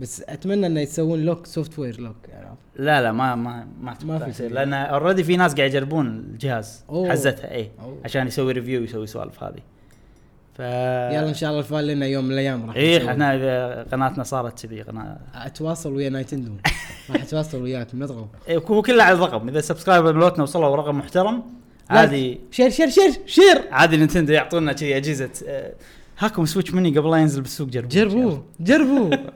Speaker 2: بس اتمنى انه يسوون لوك سوفت وير لوك عرفت
Speaker 1: لا لا ما ما ما أعتقد
Speaker 2: ما في
Speaker 1: راح يصير،
Speaker 2: شيء.
Speaker 1: لان اوريدي في ناس قاعد يجربون الجهاز
Speaker 2: أوه.
Speaker 1: حزتها اي
Speaker 2: أوه.
Speaker 1: عشان يسوي ريفيو يسوي سوالف هذه ف
Speaker 2: يلا ان شاء الله الفال لنا يوم من الايام راح
Speaker 1: ايه
Speaker 2: نسوي.
Speaker 1: احنا إذا قناتنا صارت كذي قناه
Speaker 2: اتواصل ويا نايتندو راح اتواصل وياك نضغط
Speaker 1: هو إيه، كله على الرقم اذا السبسكرايبر ملوتنا وصلوا رقم محترم
Speaker 2: لا،
Speaker 1: عادي
Speaker 2: شير شير شير شير
Speaker 1: عادي نينتندو يعطونا كذي اجهزه آه، هاكم سويتش مني قبل لا ينزل بالسوق جربوه
Speaker 2: جربوه جربوه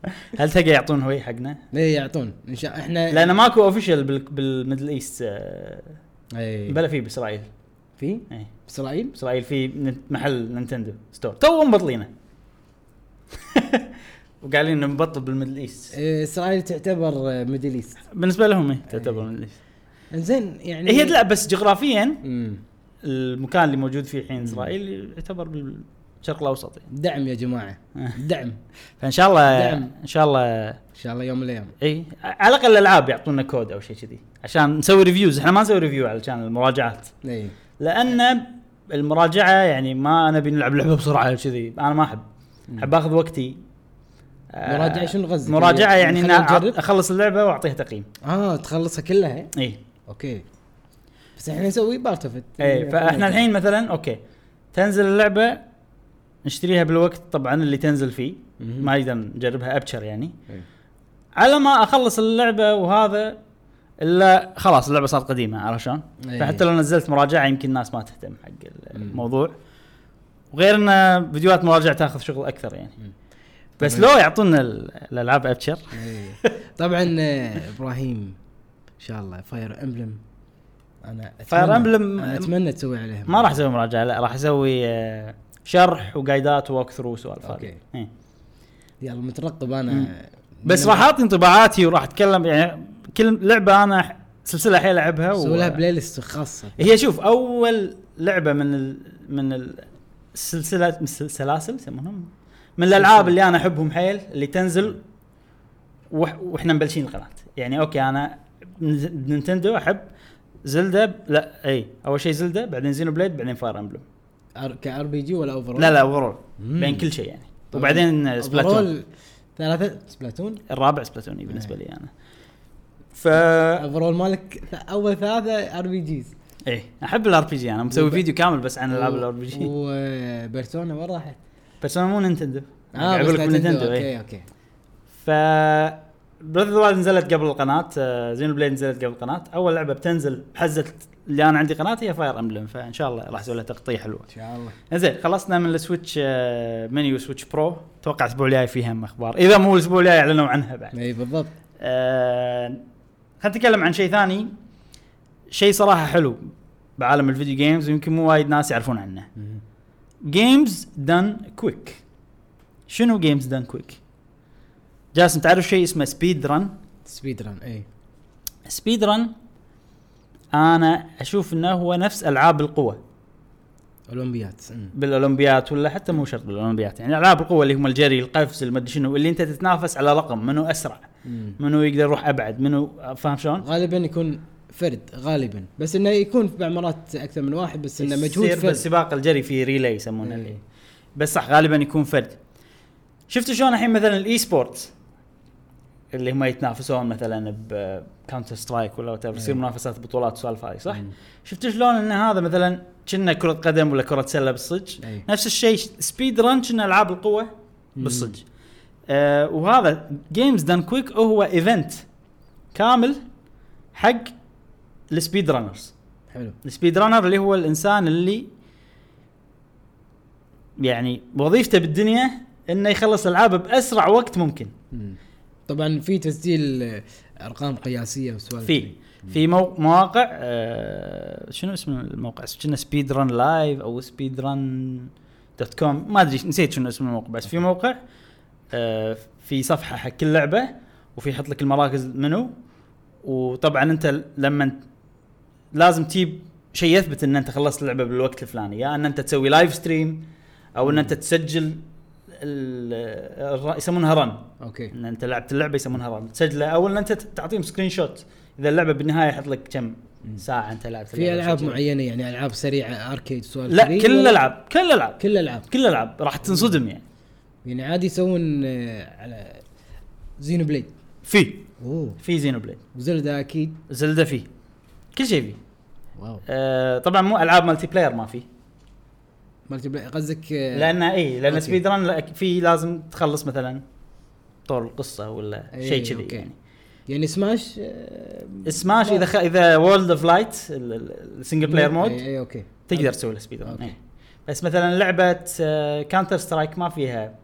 Speaker 1: [laughs] هل تلقى يعطون هوي حقنا؟
Speaker 2: ليه يعطون ان شاء احنا
Speaker 1: لان ماكو اوفيشال بالميدل ايست آه،
Speaker 2: اي
Speaker 1: بلا في باسرائيل
Speaker 2: إيه. في
Speaker 1: إيه،
Speaker 2: اسرائيل
Speaker 1: باسرائيل في نن- محل نينتندو ستور تو مبطلينه [laughs] وقاعدين إنه مبطل بالميدل ايست
Speaker 2: إيه، اسرائيل تعتبر ميدل ايست
Speaker 1: بالنسبه لهم إيه، تعتبر ميدل ايست
Speaker 2: انزين يعني
Speaker 1: هي لا بس جغرافيا
Speaker 2: مم.
Speaker 1: المكان اللي موجود فيه الحين اسرائيل يعتبر بالشرق الاوسط يعني.
Speaker 2: دعم يا
Speaker 1: [laughs]
Speaker 2: جماعه دعم ان
Speaker 1: فان شاء الله
Speaker 2: دعم.
Speaker 1: ان شاء الله
Speaker 2: شاء الله يوم من الايام
Speaker 1: اي على الاقل الالعاب يعطونا كود او شيء كذي عشان نسوي ريفيوز احنا ما نسوي ريفيو علشان المراجعات
Speaker 2: اي
Speaker 1: لان المراجعه يعني ما نبي نلعب لعبه بسرعه كذي انا ما احب احب اخذ وقتي آه،
Speaker 2: مراجعة شنو قصدك؟
Speaker 1: مراجعه يعني
Speaker 2: خلينا
Speaker 1: أنا
Speaker 2: نجرب؟
Speaker 1: اخلص اللعبه واعطيها تقييم
Speaker 2: اه تخلصها كلها
Speaker 1: اي
Speaker 2: اوكي بس احنا نسوي بارت اوف
Speaker 1: اي فاحنا الحين مثلا اوكي تنزل اللعبه نشتريها بالوقت طبعا اللي تنزل فيه
Speaker 2: مهم.
Speaker 1: ما نقدر نجربها ابشر يعني على ما اخلص اللعبه وهذا الا خلاص اللعبه صارت قديمه عرفت شلون؟
Speaker 2: أي.
Speaker 1: فحتى لو نزلت مراجعه يمكن الناس ما تهتم حق الموضوع وغير ان فيديوهات مراجعه تاخذ شغل اكثر يعني بس
Speaker 2: طيب.
Speaker 1: لو يعطونا ال- الالعاب ابشر
Speaker 2: إيه. طبعا آه، ابراهيم ان شاء الله فاير امبلم انا أتمنى-
Speaker 1: فاير أمبلم-
Speaker 2: أنا اتمنى تسوي عليها
Speaker 1: ما راح اسوي مراجعه لا راح اسوي آه، شرح وقايدات ووك ثرو وسوالف هذه
Speaker 2: أوكي.
Speaker 1: إيه.
Speaker 2: يلا مترقب انا
Speaker 1: بس راح اعطي انطباعاتي وراح اتكلم يعني كل لعبه انا ح- سلسله حيل العبها
Speaker 2: سوي لها
Speaker 1: و...
Speaker 2: بلاي ليست خاصه
Speaker 1: هي شوف اول لعبه من ال... من السلسله من السلاسل يسمونهم من الالعاب اللي انا احبهم حيل اللي تنزل وح... واحنا مبلشين القناه يعني اوكي انا من- نينتندو احب زلدة لا اي اول شيء زلدة بعدين زينو بليد بعدين فاير امبلم
Speaker 2: أر... كار بي جي ولا اوفر
Speaker 1: لا لا اوفرول بين
Speaker 2: مم. طيب.
Speaker 1: كل شيء يعني وبعدين سبلاتون
Speaker 2: ثلاثة سبلاتون
Speaker 1: الرابع سبلاتوني
Speaker 2: إيه.
Speaker 1: بالنسبه لي انا ف
Speaker 2: اوفرول مالك ث- اول ثلاثة ار بي جيز
Speaker 1: ايه احب الار بي جي انا مسوي
Speaker 2: وب-
Speaker 1: فيديو كامل بس عن العاب الار بي جي
Speaker 2: وبرسونا وين راحت؟
Speaker 1: بيرسونا مو نينتندو
Speaker 2: اه بس
Speaker 1: أقول لك من
Speaker 2: نينتندو
Speaker 1: نينتندو، إيه.
Speaker 2: اوكي اوكي
Speaker 1: ف بريث اوف نزلت قبل القناه زين بليد نزلت قبل القناه اول لعبه بتنزل بحزه اللي انا عندي قناه هي فاير امبلم فان شاء الله راح اسوي لها تغطيه حلوه
Speaker 2: ان شاء الله
Speaker 1: زين خلصنا من السويتش آه، منيو سويتش برو اتوقع الاسبوع الجاي فيها هم اخبار اذا مو الاسبوع الجاي اعلنوا عنها بعد
Speaker 2: اي إيه، بالضبط
Speaker 1: آه، خلينا نتكلم عن شيء ثاني شيء صراحه حلو بعالم الفيديو جيمز ويمكن مو وايد ناس يعرفون عنه جيمز دان كويك شنو جيمز دان كويك جاسم تعرف شيء اسمه سبيد رن
Speaker 2: سبيد ران اي
Speaker 1: سبيد رن انا اشوف انه هو نفس العاب القوه
Speaker 2: اولمبيات أمم.
Speaker 1: بالاولمبيات ولا حتى مو شرط بالاولمبيات يعني العاب القوه اللي هم الجري القفز المدري شنو اللي انت تتنافس على رقم منو اسرع
Speaker 2: أمم.
Speaker 1: منو يقدر يروح ابعد منو فاهم شلون؟
Speaker 2: غالبا يكون فرد غالبا بس انه يكون بعض مرات اكثر من واحد بس انه مجهود
Speaker 1: يصير
Speaker 2: فرد
Speaker 1: بالسباق الجري في ريلي يسمونه
Speaker 2: إيه.
Speaker 1: اللي بس صح غالبا يكون فرد شفت شلون الحين مثلا الاي سبورتس اللي هم يتنافسون مثلا بكاونتر سترايك ولا whatever، يصير
Speaker 2: إيه.
Speaker 1: منافسات بطولات سوالف هاي صح؟
Speaker 2: مم.
Speaker 1: شفت شلون ان هذا مثلا كنا كرة قدم ولا كرة سلة بالصج
Speaker 2: أي.
Speaker 1: نفس الشيء سبيد ران كنا العاب القوة
Speaker 2: إيه.
Speaker 1: بالصج آه وهذا جيمز دان كويك هو ايفنت كامل حق السبيد رانرز
Speaker 2: حلو
Speaker 1: السبيد رانر اللي هو الانسان اللي يعني وظيفته بالدنيا انه يخلص العابه باسرع وقت ممكن
Speaker 2: أمم. طبعا في تسجيل آه، ارقام قياسيه وسوالف
Speaker 1: في في مو- مواقع آه شنو اسم الموقع كنا سبيد ران لايف او سبيد ران دوت كوم ما ادري نسيت شنو اسم الموقع بس في موقع آه في صفحه حق كل لعبه وفي يحط لك المراكز منو وطبعا انت لما لازم تجيب شيء يثبت ان انت خلصت اللعبه بالوقت الفلاني يا ان انت تسوي لايف ستريم او ان انت تسجل ال- الر- يسمونها رن
Speaker 2: اوكي
Speaker 1: ان انت لعبت اللعبه يسمونها رام تسجله او ان انت تعطيهم سكرين شوت اذا اللعبه بالنهايه يحط لك كم ساعه انت لعبت
Speaker 2: في
Speaker 1: اللعبة
Speaker 2: العاب
Speaker 1: وسجلت.
Speaker 2: معينه يعني العاب سريعه اركيد سوالف
Speaker 1: لا
Speaker 2: كذي
Speaker 1: كل
Speaker 2: ولا-
Speaker 1: الالعاب كل الالعاب
Speaker 2: كل الالعاب
Speaker 1: كل الالعاب راح تنصدم يعني
Speaker 2: يعني عادي يسوون آه، على زينو بليد
Speaker 1: في
Speaker 2: اوه
Speaker 1: في زينو بليد
Speaker 2: وزلدا اكيد
Speaker 1: زلدا فيه كل شيء فيه
Speaker 2: واو
Speaker 1: آه طبعا مو العاب مالتي بلاير ما فيه
Speaker 2: مالتي بلاي قصدك آه،
Speaker 1: لان اي لان
Speaker 2: أوكي.
Speaker 1: سبيد ران لا- في لازم تخلص مثلا طور القصه ولا
Speaker 2: إي،
Speaker 1: شيء كذي
Speaker 2: إيه، أوكي.
Speaker 1: يعني
Speaker 2: يعني سماش آه،
Speaker 1: سماش اذا خ... اذا وورلد اوف لايت السنجل بلاير مود
Speaker 2: اي اي اوكي
Speaker 1: تقدر تسوي له سبيد رن
Speaker 2: أوكي.
Speaker 1: إيه. بس مثلا لعبه كانتر سترايك ما فيها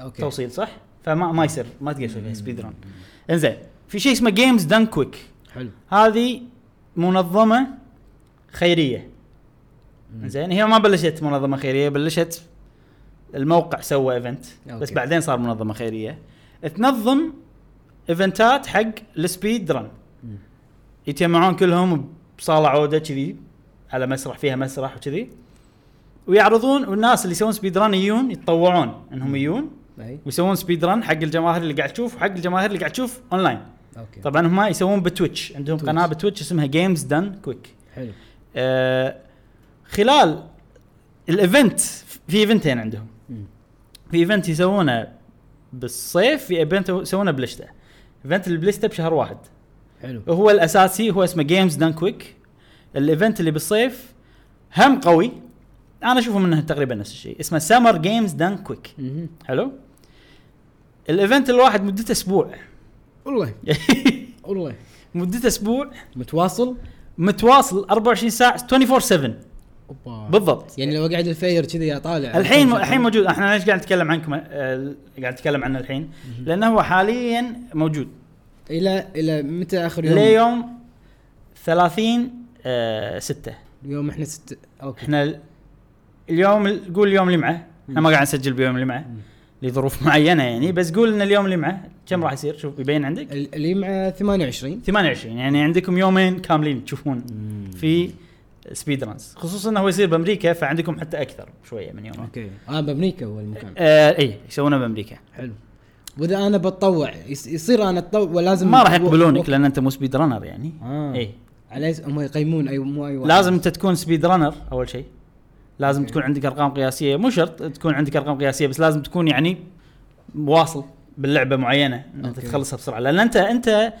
Speaker 2: اوكي
Speaker 1: توصيل صح؟ فما ما يصير ما تقدر تسوي فيها سبيد رن انزين في شيء اسمه جيمز دان كويك
Speaker 2: حلو
Speaker 1: هذه منظمه خيريه
Speaker 2: مم.
Speaker 1: انزين هي ما بلشت منظمه خيريه بلشت الموقع سوى ايفنت بس
Speaker 2: أوكي.
Speaker 1: بعدين صار منظمه خيريه تنظم ايفنتات حق السبيد رن
Speaker 2: مم.
Speaker 1: يتجمعون كلهم بصاله عوده كذي على مسرح فيها مسرح وكذي ويعرضون والناس اللي يسوون سبيد ران يجون يتطوعون انهم يجون
Speaker 2: اي
Speaker 1: ويسوون سبيد ران حق الجماهير اللي قاعد تشوف وحق الجماهير اللي قاعد تشوف اونلاين
Speaker 2: اوكي
Speaker 1: طبعا هم يسوون بتويتش عندهم
Speaker 2: تويتش.
Speaker 1: قناه بتويتش اسمها جيمز دان كويك
Speaker 2: حلو
Speaker 1: آه خلال الايفنت في ايفنتين عندهم
Speaker 2: مم.
Speaker 1: في ايفنت يسوونه بالصيف في ايفنت يسوونه بالشتاء ايفنت البليستا بشهر واحد
Speaker 2: حلو
Speaker 1: هو الاساسي هو اسمه جيمز دان كويك الايفنت اللي بالصيف هم قوي انا اشوفه منه تقريبا نفس الشيء اسمه سمر جيمز دان كويك
Speaker 2: مهم.
Speaker 1: حلو الايفنت الواحد مدته اسبوع
Speaker 2: والله والله
Speaker 1: [laughs] مدته اسبوع
Speaker 2: متواصل
Speaker 1: متواصل 24 ساعه 24 7
Speaker 2: آه. اوبا
Speaker 1: بالضبط
Speaker 2: يعني لو قاعد الفير كذي اطالع
Speaker 1: الحين الحين موجود احنا ليش قاعد نتكلم عنكم آه، قاعد نتكلم عنه الحين لانه هو حاليا موجود
Speaker 2: الى الى متى اخر يوم؟
Speaker 1: ليوم 30 6
Speaker 2: اليوم احنا ست اوكي
Speaker 1: احنا ال- اليوم ال- قول اليوم اللي معه احنا ما قاعد نسجل بيوم اللي معه
Speaker 2: مم.
Speaker 1: لظروف [laughs] معينه يعني بس قول ان اليوم اللي معه كم راح يصير شوف يبين عندك
Speaker 2: ال- اللي مع 28
Speaker 1: 28 يعني عندكم يومين كاملين تشوفون في سبيد رانز خصوصا انه هو يصير بامريكا فعندكم حتى اكثر شويه من يومين
Speaker 2: اوكي اه بامريكا هو المكان
Speaker 1: آه اي يسوونه بامريكا
Speaker 2: حلو واذا انا بتطوع يص- يصير انا اتطوع ولازم
Speaker 1: ما راح يقبلونك لان انت مو سبيد رانر يعني
Speaker 2: آه.
Speaker 1: اي
Speaker 2: على أس- هم يقيمون اي مو اي واحد
Speaker 1: لازم انت تكون سبيد رانر اول شيء لازم
Speaker 2: أوكي.
Speaker 1: تكون عندك ارقام قياسيه مو شرط تكون عندك ارقام قياسيه بس لازم تكون يعني واصل باللعبه معينه ان انت
Speaker 2: أوكي.
Speaker 1: تخلصها بسرعه لان انت انت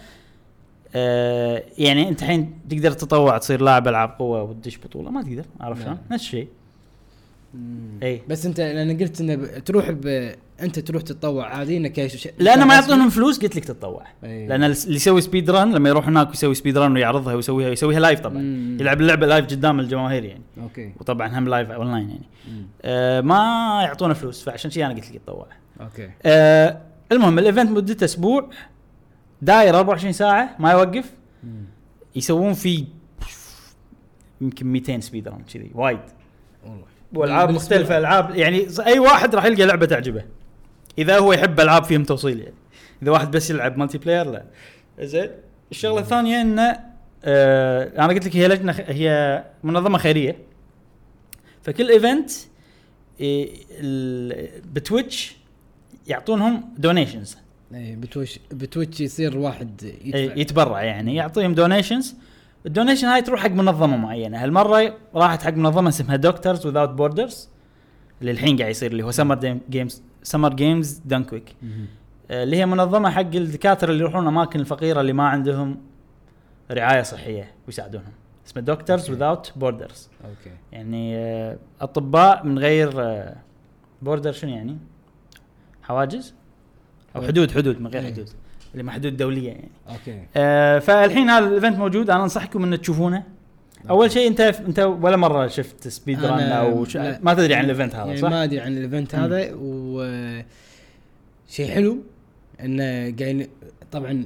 Speaker 1: آه يعني انت الحين تقدر تتطوع تصير لاعب العاب قوه وتدش بطوله ما تقدر عرفت شلون؟
Speaker 2: نعم.
Speaker 1: نفس الشيء إيه. اي
Speaker 2: بس انت لان قلت انه ب- تروح ب... انت تروح تتطوع عادي انك ش-
Speaker 1: لان ما يعطونهم فلوس قلت لك تتطوع
Speaker 2: أيوة.
Speaker 1: لان الس- اللي يسوي سبيد ران لما يروح هناك ويسوي سبيد ران ويعرضها ويسويها يسويها لايف طبعا
Speaker 2: مم.
Speaker 1: يلعب اللعبه لايف قدام الجماهير يعني
Speaker 2: اوكي
Speaker 1: وطبعا هم لايف اونلاين يعني
Speaker 2: مم.
Speaker 1: آه ما يعطونا فلوس فعشان شي انا قلت لك تطوع
Speaker 2: اوكي
Speaker 1: آه المهم الايفنت مدته اسبوع داير 24 ساعه ما يوقف
Speaker 2: مم.
Speaker 1: يسوون فيه يمكن 200 سبيد ران كذي وايد
Speaker 2: والله
Speaker 1: والعاب
Speaker 2: بالنسبة-
Speaker 1: مختلفه العاب يعني ز- اي واحد راح يلقى لعبه تعجبه اذا هو يحب العاب فيهم توصيل يعني اذا واحد بس يلعب مالتي بلاير لا زين الشغله الثانيه انه آه انا قلت لك هي لجنه خ- هي منظمه خيريه فكل ايفنت إيه، ال- بتويتش يعطونهم دونيشنز
Speaker 2: اي بتويتش إيه، بتويتش يصير واحد يدفع
Speaker 1: يتبرع يعني يعطيهم دونيشنز الدونيشن هاي تروح حق منظمه معينه هالمره راحت حق منظمه اسمها دكتورز وذاوت بوردرز اللي الحين قاعد يصير اللي هو سمر جيمز سمر جيمز دانكويك
Speaker 2: مم.
Speaker 1: آه، اللي هي منظمه حق الدكاتره اللي يروحون الاماكن الفقيره اللي ما عندهم رعايه صحيه ويساعدونهم اسمه دكتورز وذاوت بوردرز
Speaker 2: اوكي
Speaker 1: يعني آه، اطباء من غير بوردر شنو يعني حواجز او حدود حدود من غير
Speaker 2: إيه.
Speaker 1: حدود اللي مع حدود دوليه يعني
Speaker 2: اوكي
Speaker 1: آه، فالحين هذا الايفنت موجود انا انصحكم ان تشوفونه اول شيء انت انت ولا مره شفت سبيد
Speaker 2: أنا-
Speaker 1: ران او ش...
Speaker 2: لا.
Speaker 1: ما تدري عن الايفنت هذا
Speaker 2: يعني
Speaker 1: صح؟
Speaker 2: ما ادري عن الايفنت
Speaker 1: مم.
Speaker 2: هذا و شيء حلو انه قاعدين طبعا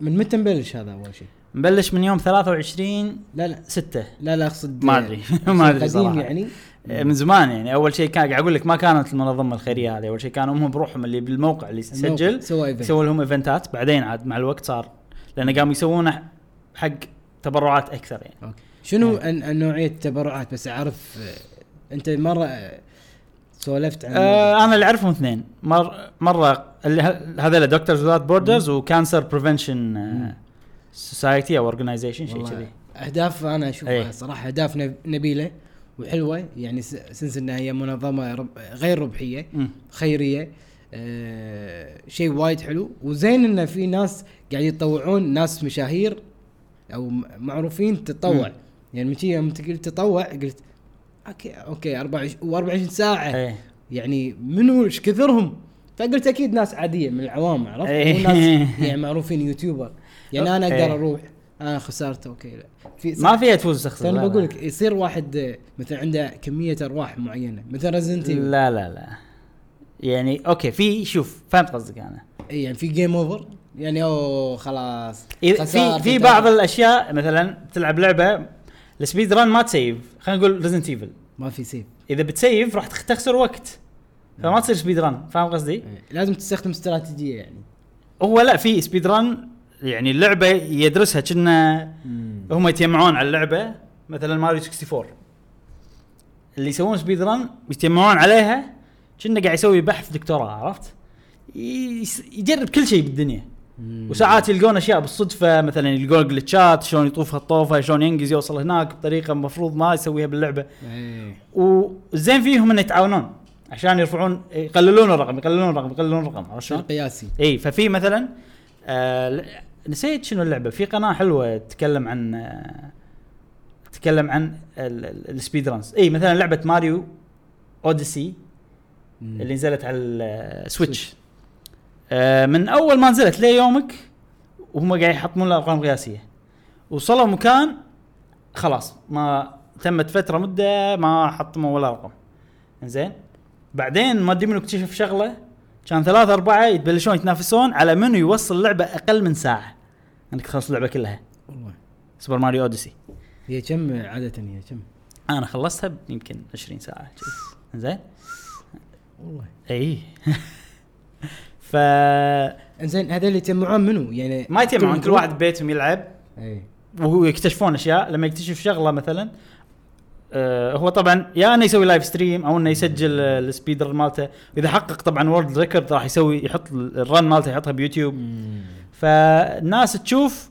Speaker 2: من متى نبلش هذا اول شيء؟
Speaker 1: مبلش من يوم 23
Speaker 2: لا لا
Speaker 1: 6
Speaker 2: لا لا اقصد
Speaker 1: ما أدري. [laughs]
Speaker 2: شيء
Speaker 1: ما أدري
Speaker 2: قديم
Speaker 1: صراحة.
Speaker 2: يعني
Speaker 1: آه، من زمان يعني اول شيء كان قاعد اقول لك ما كانت المنظمه الخيريه هذه اول شيء كانوا هم بروحهم اللي بالموقع اللي سجل
Speaker 2: سوى ايفنت
Speaker 1: سووا لهم ايفنتات بعدين عاد مع الوقت صار لان قاموا يسوونه حق تبرعات اكثر يعني
Speaker 2: اوكي شنو أن- أن نوعيه التبرعات بس اعرف آه، انت مره آه، سولفت عن
Speaker 1: آه انا اللي اعرفهم اثنين مر مره اللي ه- هذول دكتورز وذات بوردرز وكانسر بريفنشن
Speaker 2: مم.
Speaker 1: سوسايتي او اورجنايزيشن شيء
Speaker 2: والله
Speaker 1: كذي إيه.
Speaker 2: اهداف انا
Speaker 1: أي.
Speaker 2: اشوفها صراحه اهداف نب- نبيله وحلوه يعني س- سنس انها هي منظمه رب غير ربحيه
Speaker 1: مم.
Speaker 2: خيريه آه شيء وايد حلو وزين انه في ناس قاعد يتطوعون ناس مشاهير او م- معروفين تتطوع
Speaker 1: مم.
Speaker 2: يعني من شي يوم قلت تطوع قلت اوكي اوكي 24 ساعه
Speaker 1: ايه
Speaker 2: يعني منو ايش كثرهم؟ فقلت اكيد ناس عاديه من العوام عرفت؟
Speaker 1: إيه.
Speaker 2: مو ناس
Speaker 1: [laughs]
Speaker 2: يعني معروفين يوتيوبر يعني انا
Speaker 1: إيه.
Speaker 2: اقدر اروح انا خسرت اوكي لا. في
Speaker 1: ما فيها تفوز تخسر
Speaker 2: انا
Speaker 1: لا،
Speaker 2: بقول لك يصير واحد آه، مثلا عنده كميه ارواح معينه مثلا ريزنت ايفل
Speaker 1: لا لا لا يعني اوكي في شوف فهمت قصدك انا
Speaker 2: يعني في جيم اوفر يعني اوه خلاص
Speaker 1: إذا
Speaker 2: خسارة،
Speaker 1: إيه، في في
Speaker 2: خسارة.
Speaker 1: بعض الاشياء مثلا تلعب لعبه السبيد ران ما تسيف خلينا نقول ريزنت ايفل
Speaker 2: ما في سيف
Speaker 1: اذا بتسيف راح تخ- تخسر وقت فما تصير سبيد ران فاهم قصدي؟
Speaker 2: إيه، لازم تستخدم استراتيجيه يعني
Speaker 1: هو لا في سبيد ران يعني اللعبه يدرسها كنا هم يتجمعون على اللعبه مثلا ماريو 64 اللي يسوون سبيد ران يتجمعون عليها كنا قاعد يسوي بحث دكتوراه عرفت؟ ي- يس- يجرب كل شيء بالدنيا وساعات يلقون اشياء بالصدفه مثلا يلقون جلتشات شلون يطوف هالطوفه شلون ينقز يوصل هناك بطريقه المفروض ما يسويها باللعبه
Speaker 2: إيه.
Speaker 1: والزين فيهم انه يتعاونون عشان يرفعون يقللون الرقم يقللون الرقم يقللون الرقم عرفت شلون؟
Speaker 2: شيء قياسي
Speaker 1: اي إيه، ففي مثلا آه ل- نسيت شنو اللعبه في قناه حلوه تتكلم عن آه تتكلم عن ال- ال- السبيد رانز اي مثلا لعبه ماريو اوديسي
Speaker 2: مم.
Speaker 1: اللي نزلت على السويتش آه من اول ما نزلت ليومك وهم قاعد يحطمون لها ارقام قياسيه وصلوا مكان خلاص ما تمت فتره مده ما حطموا ولا رقم زين بعدين ما ادري منو اكتشف شغله كان ثلاثة أربعة يتبلشون يتنافسون على منو يوصل اللعبة أقل من ساعة أنك تخلص اللعبة كلها
Speaker 2: والله
Speaker 1: سوبر ماريو أوديسي
Speaker 2: هي كم عاده هي كم
Speaker 1: أنا خلصتها يمكن 20 ساعة جي. زين
Speaker 2: والله
Speaker 1: اي [laughs] ف
Speaker 2: انزين هذا اللي يجمعون منو يعني إيه.
Speaker 1: ما يتجمعون كل
Speaker 2: جروب؟
Speaker 1: واحد ببيتهم يلعب
Speaker 2: اي
Speaker 1: ويكتشفون اشياء لما يكتشف شغله مثلا آه هو طبعا يا انه يسوي لايف ستريم او انه يسجل آه، السبيد رن مالته اذا حقق طبعا وورلد ريكورد راح يسوي يحط ال- الرن مالته يحطها بيوتيوب فالناس تشوف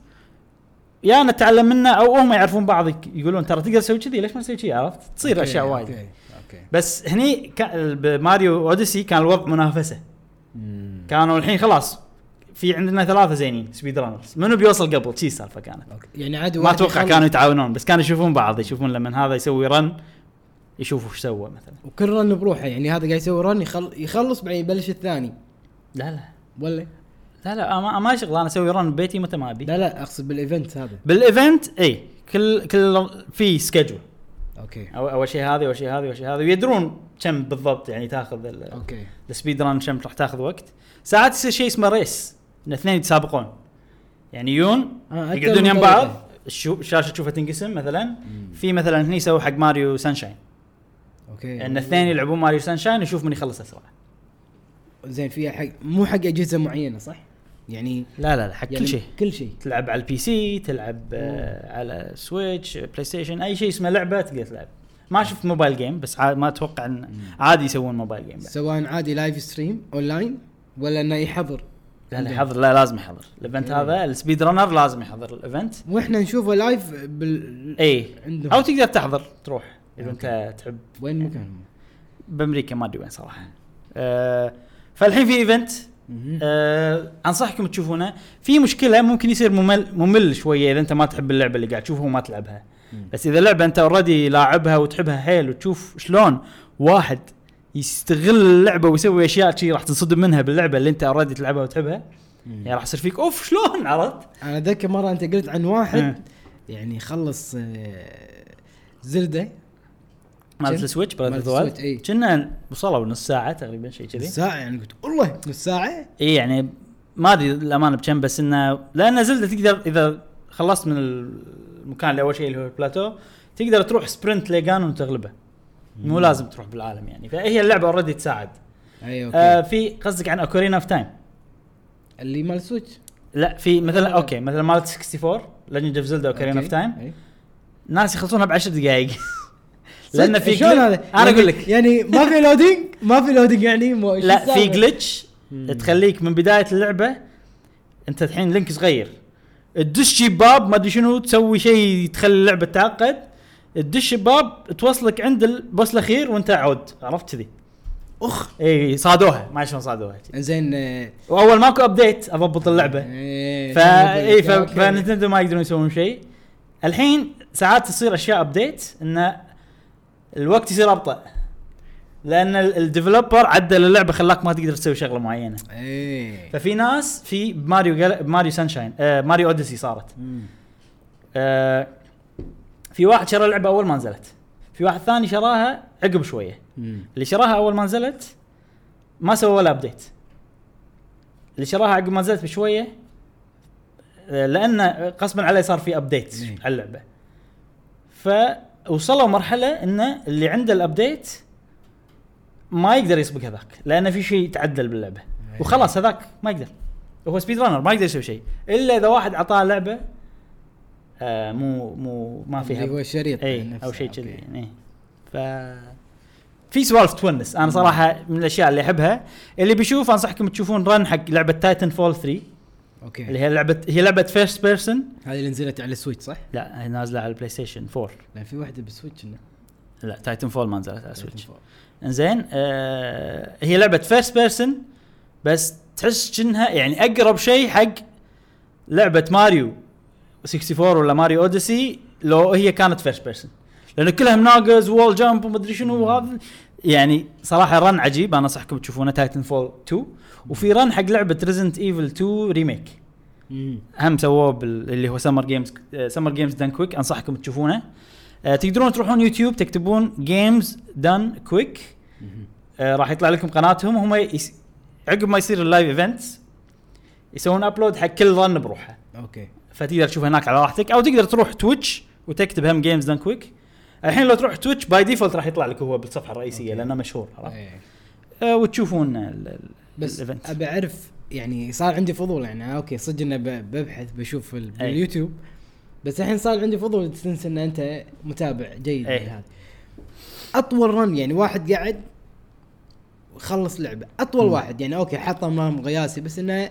Speaker 1: يا نتعلم منه او هم يعرفون بعض يك- يقولون ترى تقدر تسوي كذي ليش ما تسوي كذي عرفت؟ تصير
Speaker 2: أوكي،
Speaker 1: اشياء وايد
Speaker 2: اوكي اوكي
Speaker 1: بس هني كا- بماريو اوديسي كان الوضع منافسه كانوا الحين خلاص في عندنا ثلاثه زينين سبيد رانرز منو بيوصل قبل شي السالفه كانت
Speaker 2: أوكي. يعني عادي
Speaker 1: ما اتوقع كانوا يتعاونون بس كانوا يشوفون بعض يشوفون لما هذا يسوي رن يشوفوا ايش سوى مثلا
Speaker 2: وكل رن بروحه يعني هذا قاعد يسوي رن يخل... يخلص بعدين يبلش الثاني
Speaker 1: لا لا
Speaker 2: ولا
Speaker 1: لا لا آه، ما, ما شغل انا اسوي رن ببيتي متى ما ابي
Speaker 2: لا لا اقصد بالايفنت هذا
Speaker 1: بالايفنت اي إيه، كل كل في سكجول
Speaker 2: اوكي
Speaker 1: أو اول شيء هذه اول شيء هذه اول شيء هذه ويدرون كم بالضبط يعني تاخذ ال-
Speaker 2: اوكي
Speaker 1: السبيد ران كم راح تاخذ وقت ساعات يصير شيء اسمه ريس ان اثنين يتسابقون يعني يون
Speaker 2: آه، أكثر
Speaker 1: يقعدون
Speaker 2: من
Speaker 1: يم
Speaker 2: طريقة.
Speaker 1: بعض الشو- الشاشه تشوفها تنقسم مثلا في مثلا هني سووا حق ماريو سانشاين
Speaker 2: اوكي
Speaker 1: ان اثنين يلعبون ماريو سانشاين يشوف من يخلص اسرع
Speaker 2: زين فيها حق مو حق اجهزه معينه صح؟ يعني
Speaker 1: لا لا لا حق
Speaker 2: يعني
Speaker 1: كل شيء
Speaker 2: كل شيء
Speaker 1: تلعب على البي سي تلعب آه على سويتش بلاي ستيشن اي شيء اسمه لعبه تقدر تلعب ما شفت موبايل جيم بس عا- ما اتوقع ان عادي يسوون موبايل جيم بعد.
Speaker 2: سواء عادي لايف ستريم اونلاين ولا انه يحضر
Speaker 1: لا لا يحضر لا لازم يحضر الايفنت هذا السبيد رانر لازم يحضر الايفنت
Speaker 2: واحنا نشوفه لايف بال
Speaker 1: اي
Speaker 2: عندهم.
Speaker 1: او إيه. تقدر تحضر تروح اذا انت تحب
Speaker 2: وين مكانهم؟
Speaker 1: بامريكا ما ادري وين صراحه آه فالحين في ايفنت
Speaker 2: مهم.
Speaker 1: آه انصحكم تشوفونه في مشكله ممكن يصير ممل ممل شويه اذا انت ما تحب اللعبه اللي قاعد تشوفها وما تلعبها
Speaker 2: مم.
Speaker 1: بس اذا لعبه انت اوريدي لاعبها وتحبها حيل وتشوف شلون واحد يستغل اللعبه ويسوي اشياء شي راح تنصدم منها باللعبه اللي انت اوريدي تلعبها وتحبها
Speaker 2: مم.
Speaker 1: يعني راح يصير فيك اوف شلون عرفت؟
Speaker 2: انا اتذكر مره انت قلت عن واحد
Speaker 1: مم.
Speaker 2: يعني خلص آه، زلده
Speaker 1: مالت
Speaker 2: جن-
Speaker 1: السويتش
Speaker 2: مالت
Speaker 1: مالت
Speaker 2: السويتش، إي.
Speaker 1: السويتش كنا وصلوا نص ساعه تقريبا شيء كذي
Speaker 2: نص ساعه يعني قلت والله نص ساعه
Speaker 1: اي يعني ما ادري الامانه بكم بس انه لان زلده تقدر اذا خلصت من المكان اللي اول شيء اللي هو البلاتو تقدر تروح سبرنت لجان وتغلبه مو لازم تروح بالعالم يعني فهي اللعبه اوريدي تساعد
Speaker 2: اي اوكي
Speaker 1: آه في قصدك عن اوكورينا اوف تايم
Speaker 2: اللي مال سويتش
Speaker 1: لا في مثلا
Speaker 2: آه.
Speaker 1: اوكي مثلا مالت 64 ليجند اوف زلدا اوكرين اوف تايم
Speaker 2: أي.
Speaker 1: ناس يخلصونها بعشر دقائق لان في
Speaker 2: شلون
Speaker 1: glitch-
Speaker 2: هذا؟
Speaker 1: انا
Speaker 2: يعني-
Speaker 1: اقول لك
Speaker 2: يعني ما في لودينج ما في لودينج يعني مو شو
Speaker 1: لا في
Speaker 2: السالفة؟
Speaker 1: جلتش
Speaker 2: مم.
Speaker 1: تخليك من بدايه اللعبه انت الحين لينك صغير تدش باب ما ادري شنو تسوي شيء تخلي اللعبه تعقد تدش باب توصلك عند البوس الاخير وانت عود عرفت كذي
Speaker 2: اخ
Speaker 1: اي صادوها ما شلون صادوها
Speaker 2: زين آه،
Speaker 1: واول ماكو ابديت اضبط اللعبه
Speaker 2: إيه،
Speaker 1: فا اي ف-
Speaker 2: أوكي.
Speaker 1: فنتندو ما يقدرون يسوون شيء الحين ساعات تصير اشياء ابديت انه الوقت يصير ابطا لان ال- الديفلوبر عدل اللعبه خلاك ما تقدر تسوي شغله معينه
Speaker 2: ايه
Speaker 1: ففي ناس في ماريو جل... ماريو سانشاين آه ماريو اوديسي صارت
Speaker 2: مم.
Speaker 1: آه في واحد شرى اللعبه اول ما نزلت في واحد ثاني شراها عقب شويه
Speaker 2: مم.
Speaker 1: اللي شراها اول ما نزلت ما سوى ولا ابديت اللي شراها عقب ما نزلت بشويه آه، لانه قصبا عليه صار في ابديت
Speaker 2: إيه.
Speaker 1: على اللعبه فوصلوا مرحله ان اللي عنده الابديت ما يقدر يسبق هذاك لان في شيء تعدل باللعبه
Speaker 2: إيه.
Speaker 1: وخلاص هذاك ما يقدر هو سبيد رانر ما يقدر يسوي شيء الا اذا واحد اعطاه لعبه آه مو مو ما فيها
Speaker 2: اللي هو الشريط
Speaker 1: اي
Speaker 2: نفسه،
Speaker 1: او شيء
Speaker 2: أوكي.
Speaker 1: كذي يعني إيه. ف في سوالف تونس انا صراحه من الاشياء اللي احبها اللي بيشوف انصحكم تشوفون رن حق لعبه تايتن فول 3
Speaker 2: إيه.
Speaker 1: اللي
Speaker 2: اوكي
Speaker 1: هي لعبه هي لعبه فيرست بيرسون
Speaker 2: هذه اللي نزلت على السويتش صح؟
Speaker 1: لا هي نازله على البلاي ستيشن 4
Speaker 2: لان في واحده بالسويتش إنه.
Speaker 1: لا تايتن فول ما نزلت على سويتش انزين آه هي لعبه فيرست بيرسون بس تحس انها يعني اقرب شيء حق لعبه ماريو 64 ولا ماريو اوديسي لو هي كانت فيرست بيرسون لان كلها مناقز وول جامب ومدري شنو وهذا يعني صراحه رن عجيب انا انصحكم تشوفونه تايتن فول 2 وفي رن حق لعبه ريزنت ايفل 2 ريميك
Speaker 2: مم.
Speaker 1: هم سووه بال- اللي هو آه، سمر جيمز سمر جيمز دان كويك انصحكم تشوفونه آه، تقدرون تروحون يوتيوب تكتبون جيمز دان كويك
Speaker 2: مم.
Speaker 1: آه، راح يطلع لكم قناتهم هم يس... عقب ما يصير اللايف ايفنت يسوون ابلود حق كل رن بروحه
Speaker 2: اوكي
Speaker 1: فتقدر تشوف هناك على راحتك او تقدر تروح تويتش وتكتب هم جيمز دان كويك الحين لو تروح تويتش باي ديفولت راح يطلع لك هو بالصفحه الرئيسيه
Speaker 2: أوكي.
Speaker 1: لانه مشهور عرفت؟
Speaker 2: إيه.
Speaker 1: أه وتشوفون ال- ال-
Speaker 2: بس
Speaker 1: الإيفنت.
Speaker 2: ابي اعرف يعني صار عندي فضول يعني اوكي صدق اني ب- ببحث بشوف ال-
Speaker 1: أي.
Speaker 2: باليوتيوب بس الحين صار عندي فضول تنسى ان انت متابع جيد
Speaker 1: أي.
Speaker 2: لهذا اطول رن يعني واحد قاعد وخلص لعبه اطول
Speaker 1: مم.
Speaker 2: واحد يعني اوكي حط رقم قياسي بس انه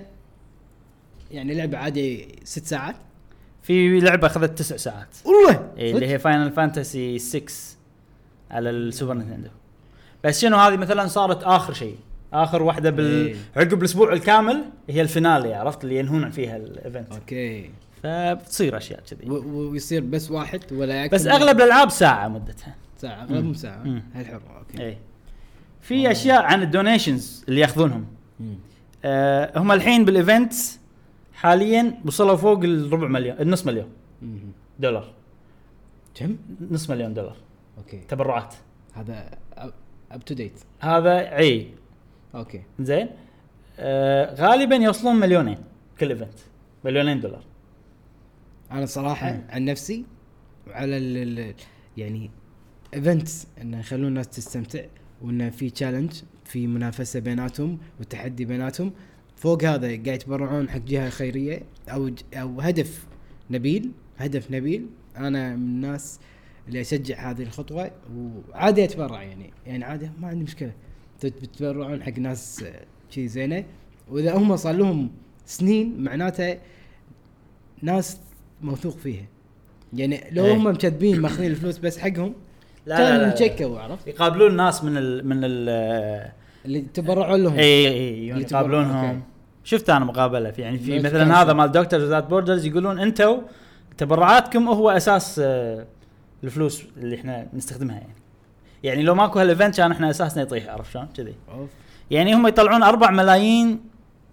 Speaker 2: يعني لعبه عادي ست ساعات
Speaker 1: في لعبه اخذت تسع ساعات
Speaker 2: والله
Speaker 1: إيه،
Speaker 2: صدق؟
Speaker 1: اللي هي فاينل فانتسي 6 على السوبر نينتندو بس شنو هذه مثلا صارت اخر شيء اخر واحده بال
Speaker 2: إيه.
Speaker 1: عقب الاسبوع الكامل هي الفينالي عرفت اللي ينهون فيها الايفنت
Speaker 2: اوكي
Speaker 1: فبتصير اشياء كذي
Speaker 2: و- و- ويصير بس واحد ولا أكثر
Speaker 1: بس
Speaker 2: من
Speaker 1: اغلب الالعاب ساعه مدتها
Speaker 2: ساعه اغلب مو
Speaker 1: مم. إيه.
Speaker 2: ساعه هالحره اوكي
Speaker 1: اي في اشياء عن الدونيشنز اللي ياخذونهم
Speaker 2: مم.
Speaker 1: أه هم الحين بالايفنت حاليا وصلوا فوق الربع مليون النص مليون
Speaker 2: مم.
Speaker 1: دولار
Speaker 2: كم؟
Speaker 1: نص مليون دولار
Speaker 2: اوكي
Speaker 1: تبرعات
Speaker 2: هذا اب تو ديت
Speaker 1: هذا إيه. عي
Speaker 2: اوكي
Speaker 1: زين أه غالبا يوصلون مليونين كل ايفنت مليونين دولار
Speaker 2: انا صراحه عن نفسي وعلى ال ال- يعني ايفنتس انه يخلون الناس تستمتع وانه في تشالنج في منافسه بيناتهم وتحدي بيناتهم فوق هذا قاعد يتبرعون حق جهه خيريه او ج- او هدف نبيل هدف نبيل انا من الناس اللي اشجع هذه الخطوه وعادي اتبرع يعني يعني عادي ما عندي مشكله تت- بتتبرعون حق ناس آه، شي زينه واذا هم صار لهم سنين معناته ناس موثوق فيها يعني لو
Speaker 1: إيه.
Speaker 2: هم مكذبين ماخذين الفلوس بس حقهم
Speaker 1: لا
Speaker 2: كان
Speaker 1: لا لا لا.
Speaker 2: مشكوا عرفت
Speaker 1: يقابلون ناس من ال من ال
Speaker 2: اللي تبرعوا لهم
Speaker 1: اي اي
Speaker 2: اللي
Speaker 1: يقابلونهم
Speaker 2: تبرع-
Speaker 1: شفت انا مقابله في يعني في
Speaker 2: بس
Speaker 1: مثلا
Speaker 2: كان
Speaker 1: هذا
Speaker 2: شيء.
Speaker 1: مال دكتور وذات بوردرز يقولون انتم تبرعاتكم هو اساس آه، الفلوس اللي احنا نستخدمها يعني يعني لو ماكو هالايفنت كان احنا اساسنا يطيح عرفت شلون كذي
Speaker 2: أوف.
Speaker 1: يعني هم يطلعون 4 ملايين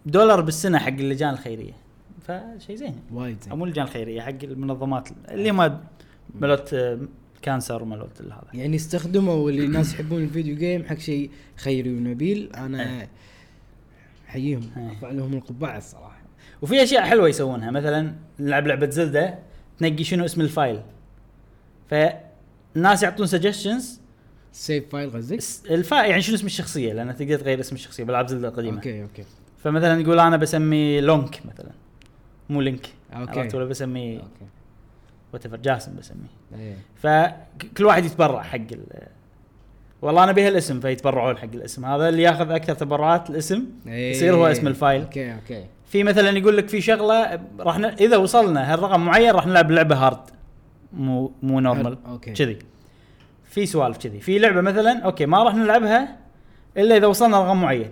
Speaker 1: دولار بالسنه حق اللجان الخيريه فشيء زين
Speaker 2: وايد
Speaker 1: او
Speaker 2: زين
Speaker 1: مو اللجان الخيريه حق المنظمات اللي هم ملوت آه، كانسر وملوت هذا
Speaker 2: يعني استخدموا اللي الناس يحبون الفيديو جيم حق شيء خيري ونبيل انا
Speaker 1: إيه.
Speaker 2: احييهم
Speaker 1: إيه.
Speaker 2: ارفع لهم القبعه الصراحه
Speaker 1: وفي اشياء حلوه يسوونها مثلا نلعب لعبه زلده تنقي شنو اسم الفايل فالناس يعطون سجشنز
Speaker 2: إيه. سيف فايل قصدك؟
Speaker 1: الفا يعني شنو اسم الشخصيه لان تقدر تغير اسم الشخصيه بالعاب زلده القديمه
Speaker 2: اوكي اوكي
Speaker 1: فمثلا يقول انا بسمي لونك مثلا مو لينك
Speaker 2: أوكي.
Speaker 1: عرفت ولا بسمي
Speaker 2: اوكي
Speaker 1: وات جاسم بسميه
Speaker 2: إيه.
Speaker 1: فكل واحد يتبرع حق ال والله انا بها الاسم فيتبرعون حق الاسم هذا اللي ياخذ اكثر تبرعات الاسم
Speaker 2: إيه.
Speaker 1: يصير هو اسم الفايل
Speaker 2: اوكي اوكي
Speaker 1: في مثلا يقول لك في شغله راح ن... اذا وصلنا هالرقم معين راح نلعب لعبه هارد مو مو نورمال
Speaker 2: أوكي.
Speaker 1: كذي في سوالف كذي في لعبه مثلا اوكي ما راح نلعبها الا اذا وصلنا رقم معين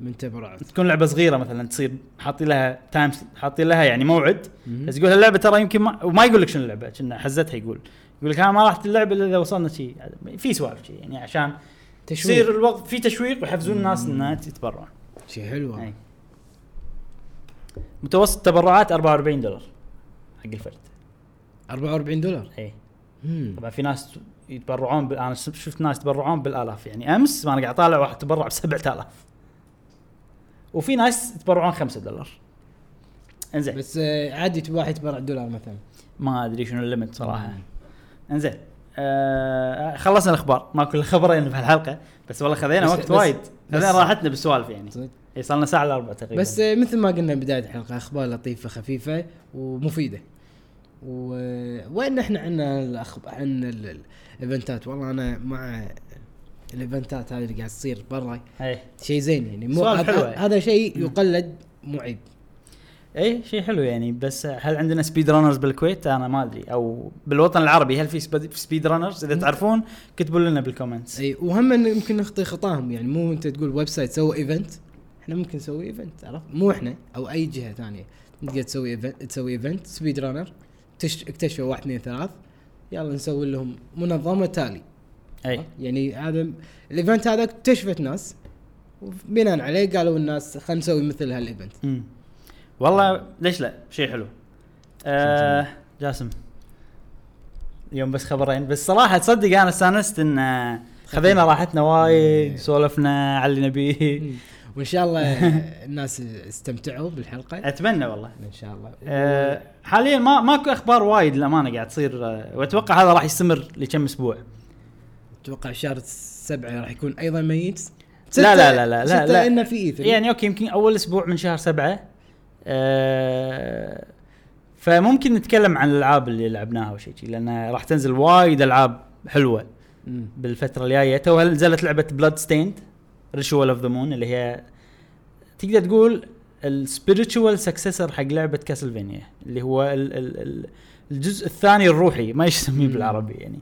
Speaker 2: من تبرعت
Speaker 1: تكون لعبه صغيره مثلا تصير حاطين لها تايم حاطين لها يعني موعد
Speaker 2: مهم.
Speaker 1: بس يقول هاللعبه ترى يمكن ما وما يقول لك شنو اللعبه كنا حزتها يقول يقول لك انا ما راح تلعب الا اذا وصلنا شي في سوالف شي يعني عشان يصير
Speaker 2: تشويق
Speaker 1: الوقت في تشويق ويحفزون الناس انها تتبرع
Speaker 2: شيء حلو
Speaker 1: أي. متوسط تبرعات 44 دولار حق الفرد
Speaker 2: 44 دولار
Speaker 1: اي
Speaker 2: مم.
Speaker 1: طبعا في ناس يتبرعون بال... انا شفت ناس يتبرعون بالالاف يعني امس ما انا قاعد اطالع واحد تبرع ب 7000 وفي ناس يتبرعون 5 دولار انزين
Speaker 2: بس آه، عادي تبغى واحد يتبرع دولار مثلا
Speaker 1: ما ادري شنو الليمت صراحه
Speaker 2: مم.
Speaker 1: انزين آه خلصنا الاخبار ماكو الا خبرين في الحلقه بس والله خذينا
Speaker 2: بس-
Speaker 1: وقت
Speaker 2: بس-
Speaker 1: وايد
Speaker 2: بس-
Speaker 1: خذينا راحتنا بالسوالف يعني
Speaker 2: صدق
Speaker 1: إي، صار لنا ساعه الا ربع تقريبا
Speaker 2: بس آه، مثل ما قلنا بدايه الحلقه اخبار لطيفه خفيفه ومفيده و... وين احنا عندنا الأخب... عندنا ال- ال- الايفنتات والله انا مع الايفنتات هذه اللي قاعد تصير برا
Speaker 1: اي
Speaker 2: شيء زين يعني مو
Speaker 1: سؤال
Speaker 2: هذا-
Speaker 1: حلو.
Speaker 2: هذا شيء يقلد مو عيب
Speaker 1: اي شيء حلو يعني بس هل عندنا سبيد رانرز بالكويت انا ما ادري او بالوطن العربي هل في سبيد- سبيد رانرز اذا تعرفون كتبوا لنا بالكومنتس
Speaker 2: اي وهم إن يمكن نخطي خطاهم يعني مو انت تقول ويب سايت سوى ايفنت احنا ممكن نسوي ايفنت عرفت مو احنا او اي جهه ثانيه تقدر تسوي ايفنت تسوي ايفنت سبيد رانر تش- اكتشفوا واحد اثنين ثلاث يلا نسوي لهم منظمه تالي
Speaker 1: اي
Speaker 2: يعني هذا الايفنت هذا اكتشفت ناس وبناء عليه قالوا الناس خلينا نسوي مثل هالايفنت
Speaker 1: مم. والله ليش لا شيء حلو آه جاسم اليوم بس خبرين بس صراحه تصدق انا استانست ان آه، خذينا راحتنا وايد سولفنا على اللي نبيه
Speaker 2: وان شاء الله
Speaker 1: [laughs]
Speaker 2: الناس استمتعوا بالحلقه
Speaker 1: اتمنى والله
Speaker 2: ان شاء الله
Speaker 1: آه حاليا ما ماكو اخبار وايد للامانه قاعد تصير آه، واتوقع هذا راح يستمر لكم اسبوع
Speaker 2: اتوقع شهر سبعة راح يكون ايضا ميت
Speaker 1: لا لا لا لا لا, لا.
Speaker 2: انه في ايثر
Speaker 1: يعني اوكي يمكن اول اسبوع من شهر سبعة آه فممكن نتكلم عن الالعاب اللي لعبناها وشيء شي، لان راح تنزل وايد العاب حلوه
Speaker 2: مم.
Speaker 1: بالفتره الجايه تو نزلت لعبه بلاد ستيند ريشوال اوف ذا مون اللي هي تقدر تقول السبيريتشوال سكسسر حق لعبه كاسلفينيا اللي هو ال ال ال الجزء الثاني الروحي ما يسميه
Speaker 2: مم. إيه.
Speaker 1: بالعربي يعني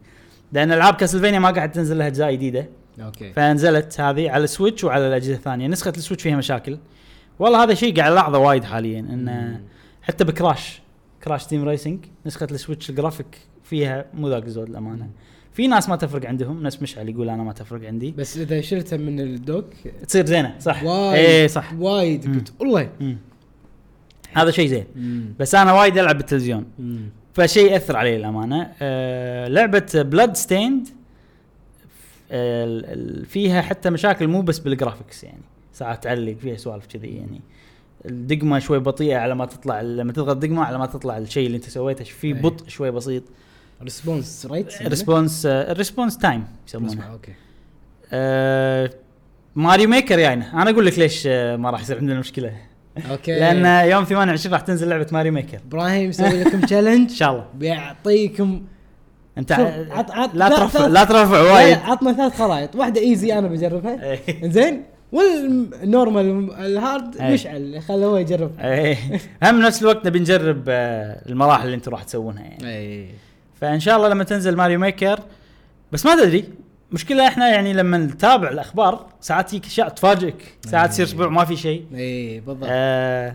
Speaker 1: لان العاب كاسلفينيا ما قاعد تنزل لها اجزاء جديده
Speaker 2: اوكي
Speaker 1: فنزلت هذه على السويتش وعلى الاجهزه الثانيه نسخه السويتش فيها مشاكل والله هذا شيء قاعد الاحظه وايد حاليا انه حتى بكراش كراش تيم ريسنج نسخه السويتش الجرافيك فيها مو ذاك الزود الامانه في ناس ما تفرق عندهم ناس مشعل يقول انا ما تفرق عندي
Speaker 2: بس اذا شلتها من الدوك
Speaker 1: تصير زينه صح
Speaker 2: وايد
Speaker 1: اي إيه، صح
Speaker 2: وايد
Speaker 1: مم.
Speaker 2: قلت والله
Speaker 1: مم. هذا شيء زين بس انا وايد العب بالتلفزيون
Speaker 2: مم.
Speaker 1: فشيء ياثر علي للامانه آه لعبه بلاد ستيند آه، فيها حتى مشاكل مو بس بالجرافكس يعني ساعات تعلق فيها سوالف كذي يعني الدقمه شوي بطيئه على ما تطلع لما تضغط دقمه على ما تطلع الشيء اللي انت سويته في
Speaker 2: أي.
Speaker 1: بطء شوي بسيط
Speaker 2: ريسبونس ريت
Speaker 1: ريسبونس ريسبونس تايم يسمونه
Speaker 2: اوكي
Speaker 1: آه، ماريو ميكر يعني انا اقول لك ليش آه، ما راح يصير عندنا مشكله
Speaker 2: اوكي
Speaker 1: لان يوم 28 راح تنزل لعبه ماريو ميكر
Speaker 2: ابراهيم يسوي لكم
Speaker 1: [laughs] ان
Speaker 2: تشالنج
Speaker 1: شاء الله
Speaker 2: بيعطيكم
Speaker 1: انت
Speaker 2: شوف، عط- عط-
Speaker 1: لا
Speaker 2: لا-
Speaker 1: ترفع
Speaker 2: ثلاث-
Speaker 1: لا ترفع
Speaker 2: لا،
Speaker 1: وايد
Speaker 2: عطنا ثلاث خرائط واحده ايزي انا بجربها
Speaker 1: إيه.
Speaker 2: زين والنورمال الهارد
Speaker 1: إيه.
Speaker 2: مشعل خله هو يجرب
Speaker 1: ايه هم نفس الوقت نبي نجرب آه، المراحل اللي انتم راح تسوونها يعني
Speaker 2: اي
Speaker 1: فان شاء الله لما تنزل ماريو ميكر بس ما تدري مشكلة احنا يعني لما نتابع الاخبار ساعات تجيك اشياء تفاجئك ساعات تصير اسبوع ما في شيء
Speaker 2: اي إيه، بالضبط
Speaker 1: آه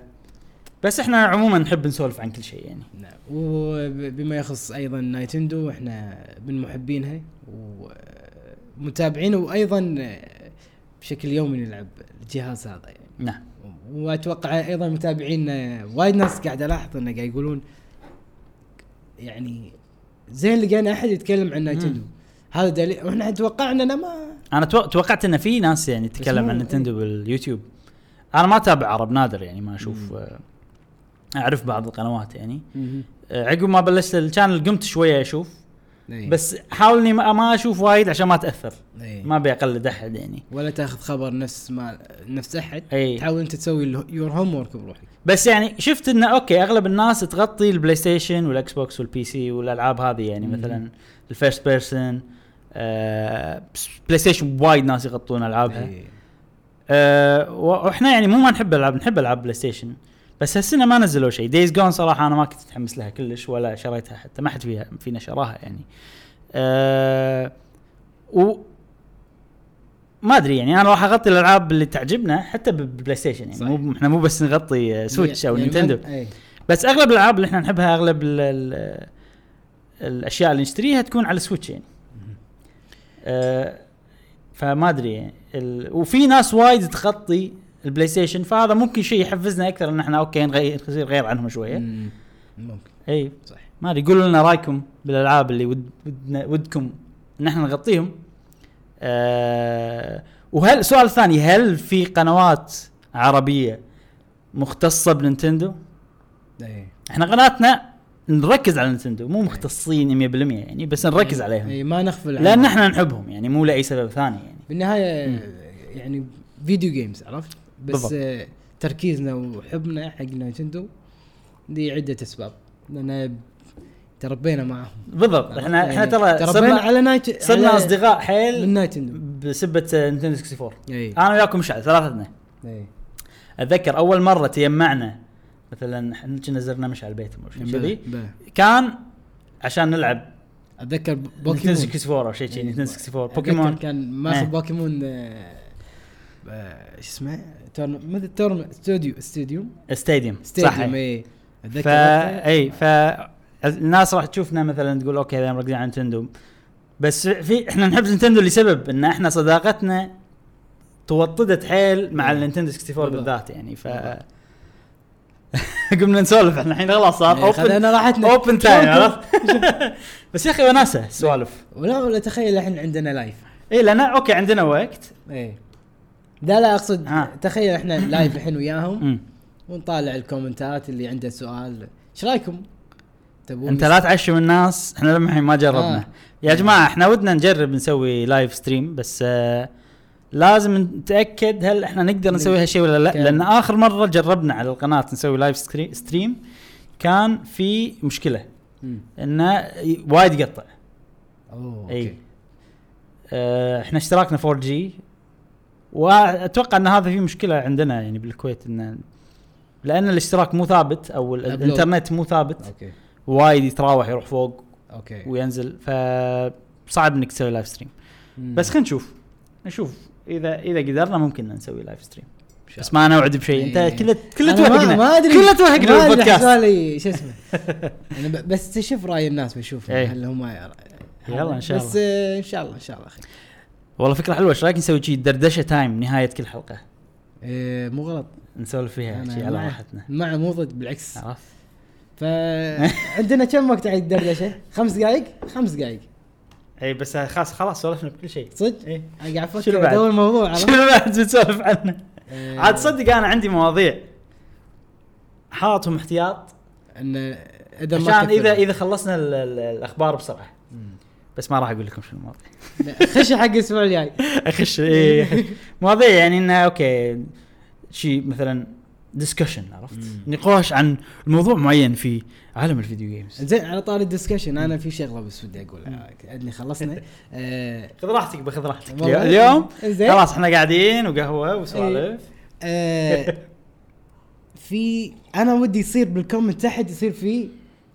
Speaker 1: بس احنا عموما نحب نسولف عن كل شيء يعني
Speaker 2: نعم وبما يخص ايضا نايتندو احنا من محبينها ومتابعين وايضا بشكل يومي نلعب الجهاز هذا يعني
Speaker 1: نعم
Speaker 2: واتوقع ايضا متابعينا وايد ناس قاعد الاحظ انه قاعد يقولون يعني زين لقينا احد يتكلم عن نايتندو
Speaker 1: مم.
Speaker 2: هذا دليل واحنا توقعنا انه ما
Speaker 1: انا تو- توقعت ان في ناس يعني تتكلم
Speaker 2: مو-
Speaker 1: عن نينتندو باليوتيوب انا ما اتابع عرب نادر يعني ما اشوف آه، اعرف بعض القنوات يعني آه، عقب ما بلشت الشانل قمت شويه اشوف
Speaker 2: إيه.
Speaker 1: بس حاول اني ما ما اشوف وايد عشان ما اتاثر
Speaker 2: إيه.
Speaker 1: ما ابي اقلد احد يعني
Speaker 2: ولا تاخذ خبر نفس ما نفس احد
Speaker 1: إيه.
Speaker 2: تحاول انت تسوي يور هوم ورك بروحك
Speaker 1: بس يعني شفت انه اوكي اغلب الناس تغطي البلاي ستيشن والاكس بوكس والبي سي والالعاب هذه يعني
Speaker 2: مم.
Speaker 1: مثلا الفيرست بيرسون بلاي ستيشن آه، وايد ناس يغطون العابها
Speaker 2: إيه.
Speaker 1: آه، و- واحنا يعني مو ما نحب العاب نحب العاب بلاي ستيشن بس هالسنه ما نزلوا شيء دايز جون صراحه انا ما كنت متحمس لها كلش ولا شريتها حتى ما حد فيها فينا شراها يعني أه و ما ادري يعني انا راح اغطي الالعاب اللي تعجبنا حتى بالبلاي ستيشن يعني
Speaker 2: صح.
Speaker 1: مو احنا مو بس نغطي آه، سويتش او
Speaker 2: يعني
Speaker 1: نينتندو
Speaker 2: ما- إيه.
Speaker 1: بس اغلب الالعاب اللي احنا نحبها اغلب ال ال الاشياء اللي نشتريها تكون على سويتش يعني. أه فما ادري يعني ال- وفي ناس وايد تخطي البلاي ستيشن فهذا ممكن شيء يحفزنا اكثر ان احنا اوكي نغير نصير غير عنهم شويه.
Speaker 2: مم. ممكن
Speaker 1: اي
Speaker 2: صح
Speaker 1: ما ادري قولوا لنا رايكم بالالعاب اللي ود ودنا ودكم ان احنا نغطيهم. أه وهل سؤال ثاني هل في قنوات عربيه مختصه بنينتندو؟
Speaker 2: اي
Speaker 1: احنا قناتنا نركز على نتندو مو مختصين 100% يعني بس نركز
Speaker 2: إيه،
Speaker 1: عليهم
Speaker 2: اي ما نغفل عنهم.
Speaker 1: لان احنا نحبهم يعني مو لاي سبب ثاني يعني
Speaker 2: بالنهايه يعني فيديو جيمز عرفت بس
Speaker 1: بالضبط.
Speaker 2: آه، تركيزنا وحبنا حق نايتندو لعده اسباب لان تربينا معاهم
Speaker 1: بالضبط احنا احنا
Speaker 2: يعني
Speaker 1: ترى
Speaker 2: تربينا
Speaker 1: صرنا
Speaker 2: على نايت
Speaker 1: صرنا
Speaker 2: على-
Speaker 1: اصدقاء
Speaker 2: من
Speaker 1: حيل
Speaker 2: نايتندو إيه.
Speaker 1: بسبه نتندو 64
Speaker 2: اي
Speaker 1: انا وياكم مشعل ثلاثتنا
Speaker 2: اي
Speaker 1: اتذكر اول مره تجمعنا مثلا احنا كنا زرنا مشعل بيتهم او شيء كذي
Speaker 2: بلى.
Speaker 1: كان عشان نلعب
Speaker 2: اتذكر
Speaker 1: نتندو
Speaker 2: بوكيمون
Speaker 1: 64 او شيء كذي
Speaker 2: إيه.
Speaker 1: نتندو 64
Speaker 2: أتذكر
Speaker 1: بوكيمون
Speaker 2: كان
Speaker 1: إيه.
Speaker 2: ماخذ بوكيمون آه، آه، شو اسمه تورن- مثل تورن استوديو استوديو
Speaker 1: ستاديوم صح
Speaker 2: استوديو اي
Speaker 1: فا اي
Speaker 2: إيه.
Speaker 1: ف الناس راح تشوفنا مثلا تقول اوكي هذول مركزين على نتندو بس في احنا نحب نتندو لسبب ان احنا صداقتنا توطدت حيل مع
Speaker 2: مم.
Speaker 1: النينتندو 64
Speaker 2: بالضبط.
Speaker 1: بالذات يعني ف
Speaker 2: بالضبط.
Speaker 1: [laughs] قمنا نسولف احنا الحين خلاص صار اوبن
Speaker 2: خذنا راحتنا
Speaker 1: اوبن تايم عرفت [laughs] بس يا اخي وناسه السوالف
Speaker 2: ولا ولا تخيل الحين عندنا لايف
Speaker 1: اي لان اوكي عندنا وقت
Speaker 2: ايه لا لا اقصد
Speaker 1: ها. [coughs]
Speaker 2: تخيل احنا لايف الحين وياهم
Speaker 1: آه. مم.
Speaker 2: ونطالع الكومنتات اللي عنده سؤال ايش رايكم؟ تبون
Speaker 1: انت لا تعشم الناس احنا لما الحين ما جربنا
Speaker 2: آه.
Speaker 1: آه. يا جماعه احنا ودنا نجرب نسوي لايف ستريم بس آه لازم نتاكد هل احنا نقدر نسوي هالشيء ولا لا
Speaker 2: كان-
Speaker 1: لان اخر مره جربنا على القناه نسوي لايف سكري- ستريم كان في مشكله
Speaker 2: مم.
Speaker 1: انه ي- وايد يقطع
Speaker 2: اوه اوكي
Speaker 1: اي آه احنا اشتراكنا 4 جي واتوقع ان هذا في مشكله عندنا يعني بالكويت انه لان الاشتراك مو ثابت او ال-
Speaker 2: أبلود.
Speaker 1: الانترنت مو ثابت
Speaker 2: اوكي
Speaker 1: وايد يتراوح يروح فوق
Speaker 2: اوكي
Speaker 1: وينزل فصعب انك تسوي لايف ستريم
Speaker 2: مم.
Speaker 1: بس خلينا نشوف نشوف اذا اذا قدرنا ممكن نسوي لايف ستريم
Speaker 2: شاء
Speaker 1: بس ما نوعد بشيء
Speaker 2: إيه.
Speaker 1: انت كله كله
Speaker 2: أنا ما-
Speaker 1: توهقنا
Speaker 2: ما ادري
Speaker 1: كله
Speaker 2: ما
Speaker 1: توهقنا
Speaker 2: أدري
Speaker 1: البودكاست
Speaker 2: حسالي
Speaker 1: [laughs]
Speaker 2: شو اسمه انا ب- بس تشوف راي الناس بشوف
Speaker 1: إيه.
Speaker 2: هل هم يرى-
Speaker 1: يلا إن شاء
Speaker 2: بس آه، ان شاء الله ان شاء الله اخي
Speaker 1: والله فكره حلوه ايش رايك نسوي شي دردشه تايم نهايه كل حلقه
Speaker 2: آه، مو غلط
Speaker 1: نسولف فيها
Speaker 2: أنا
Speaker 1: شي على
Speaker 2: مع-
Speaker 1: راحتنا
Speaker 2: مع مو ضد بالعكس
Speaker 1: عرفت
Speaker 2: فعندنا كم وقت على الدردشه؟ خمس دقائق؟ خمس دقائق
Speaker 1: اي إيه، بس خلاص خلاص سولفنا بكل شيء
Speaker 2: صدق؟
Speaker 1: إيه.
Speaker 2: أنا قاعد
Speaker 1: شنو
Speaker 2: افكر
Speaker 1: بعد؟
Speaker 2: ادور موضوع عرفت؟
Speaker 1: [laughs] شنو بعد بتسولف عنه؟
Speaker 2: آه،
Speaker 1: عاد تصدق انا عندي مواضيع حاطهم احتياط
Speaker 2: ان اذا ما
Speaker 1: عشان اذا
Speaker 2: كثر.
Speaker 1: اذا خلصنا ال- ال- الاخبار بسرعه
Speaker 2: مم.
Speaker 1: بس ما راح اقول لكم شنو المواضيع
Speaker 2: لا، خشي حق الاسبوع الجاي
Speaker 1: اخش [laughs] إيه، أخش. مواضيع يعني انه اوكي شيء مثلا ديسكشن عرفت؟ نقاش عن موضوع معين في عالم الفيديو جيمز
Speaker 2: زين على طاري الدسكشن انا في شغله بس ودي اقولها ادني خلصنا آه،
Speaker 1: خذ راحتك بخذ راحتك
Speaker 2: والله.
Speaker 1: اليوم
Speaker 2: زين.
Speaker 1: خلاص احنا قاعدين وقهوه وسوالف
Speaker 2: آه، في انا ودي يصير بالكومنت تحت يصير في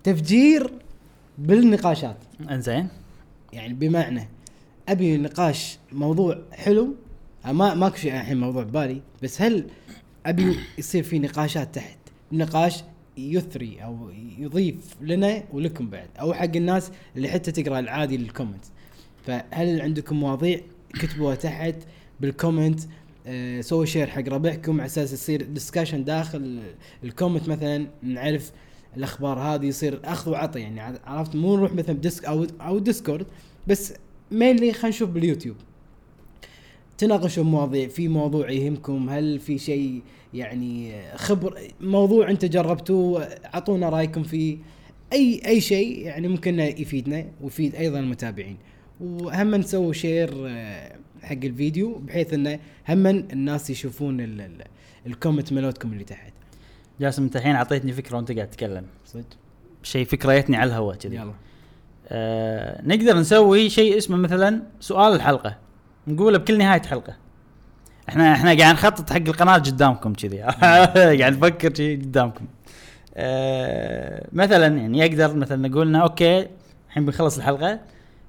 Speaker 2: تفجير بالنقاشات
Speaker 1: انزين
Speaker 2: يعني بمعنى ابي نقاش موضوع حلو ما ماكو شيء الحين موضوع ببالي بس هل ابي يصير في نقاشات تحت نقاش يثري او يضيف لنا ولكم بعد او حق الناس اللي حتى تقرا العادي للكومنت فهل عندكم مواضيع كتبوها تحت بالكومنت آه سووا شير حق ربعكم على اساس يصير ديسكشن داخل الكومنت مثلا نعرف الاخبار هذه يصير اخذ وعطي يعني ع- عرفت مو نروح مثلا بديسك او او ديسكورد بس مينلي خلينا نشوف باليوتيوب تناقشوا مواضيع في موضوع يهمكم هل في شيء يعني خبر موضوع انت جربتوه اعطونا رايكم فيه اي اي شيء يعني ممكن إنه يفيدنا ويفيد ايضا المتابعين وهم نسوي شير آه، حق الفيديو بحيث انه هم الناس يشوفون ال- ال- الكومنت مالتكم اللي تحت
Speaker 1: جاسم انت الحين اعطيتني فكره وانت قاعد تتكلم
Speaker 2: صدق
Speaker 1: شيء فكريتني على الهواء كذي
Speaker 2: يلا
Speaker 1: آه نقدر نسوي شيء اسمه مثلا سؤال الحلقه نقوله بكل نهايه حلقه احنا احنا قاعد نخطط حق القناه قدامكم كذي [laughs] قاعد نفكر شيء قدامكم آه مثلا يعني يقدر مثلا نقولنا اوكي الحين بنخلص الحلقه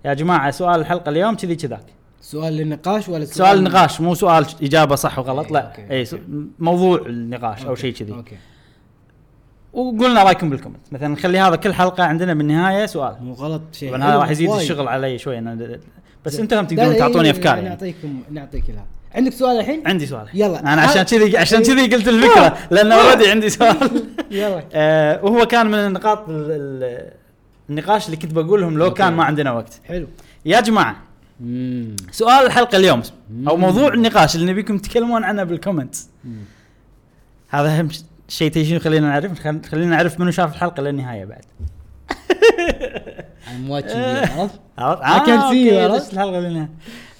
Speaker 1: يا جماعه سؤال الحلقه اليوم كذي كذاك
Speaker 2: سؤال للنقاش ولا
Speaker 1: سؤال نقاش مو سؤال اجابه صح وغلط
Speaker 2: إيه،
Speaker 1: لا
Speaker 2: أوكي،
Speaker 1: اي
Speaker 2: أوكي.
Speaker 1: موضوع النقاش او
Speaker 2: أوكي،
Speaker 1: شيء كذي
Speaker 2: اوكي
Speaker 1: وقلنا رايكم بالكومنت مثلا نخلي هذا كل حلقه عندنا بالنهايه سؤال
Speaker 2: مو غلط شيء أيوة،
Speaker 1: طبعا هذا راح يزيد
Speaker 2: وايد.
Speaker 1: الشغل علي شوي انا بس
Speaker 2: زين.
Speaker 1: انتم هم
Speaker 2: لا،
Speaker 1: تقدرون
Speaker 2: إيه،
Speaker 1: تعطوني
Speaker 2: إيه،
Speaker 1: افكار يعني
Speaker 2: نعطيكم نعطيك الها عندك سؤال الحين؟
Speaker 1: عندي سؤال
Speaker 2: يلا.
Speaker 1: انا عشان
Speaker 2: آه.
Speaker 1: كذي عشان
Speaker 2: إيه.
Speaker 1: كذي قلت
Speaker 2: [laughs]
Speaker 1: الفكره لان اوريدي عندي سؤال
Speaker 2: يلا
Speaker 1: آه، وهو كان من النقاط ال- ال- النقاش اللي كنت بقولهم لو كان ما عندنا وقت
Speaker 2: حلو
Speaker 1: يا جماعه
Speaker 2: امم
Speaker 1: سؤال الحلقه اليوم او
Speaker 2: مم.
Speaker 1: موضوع النقاش اللي نبيكم تتكلمون عنه بالكومنتس هذا اهم ش- شيء تيجي خلينا نعرف خل- خلينا نعرف منو شاف الحلقه للنهايه بعد
Speaker 2: I'm watching you
Speaker 1: آه.
Speaker 2: عرفت؟
Speaker 1: عرفت؟ آه،
Speaker 2: I can see
Speaker 1: أوكي،
Speaker 2: you، عرفت؟
Speaker 1: ليش الحلقه لنا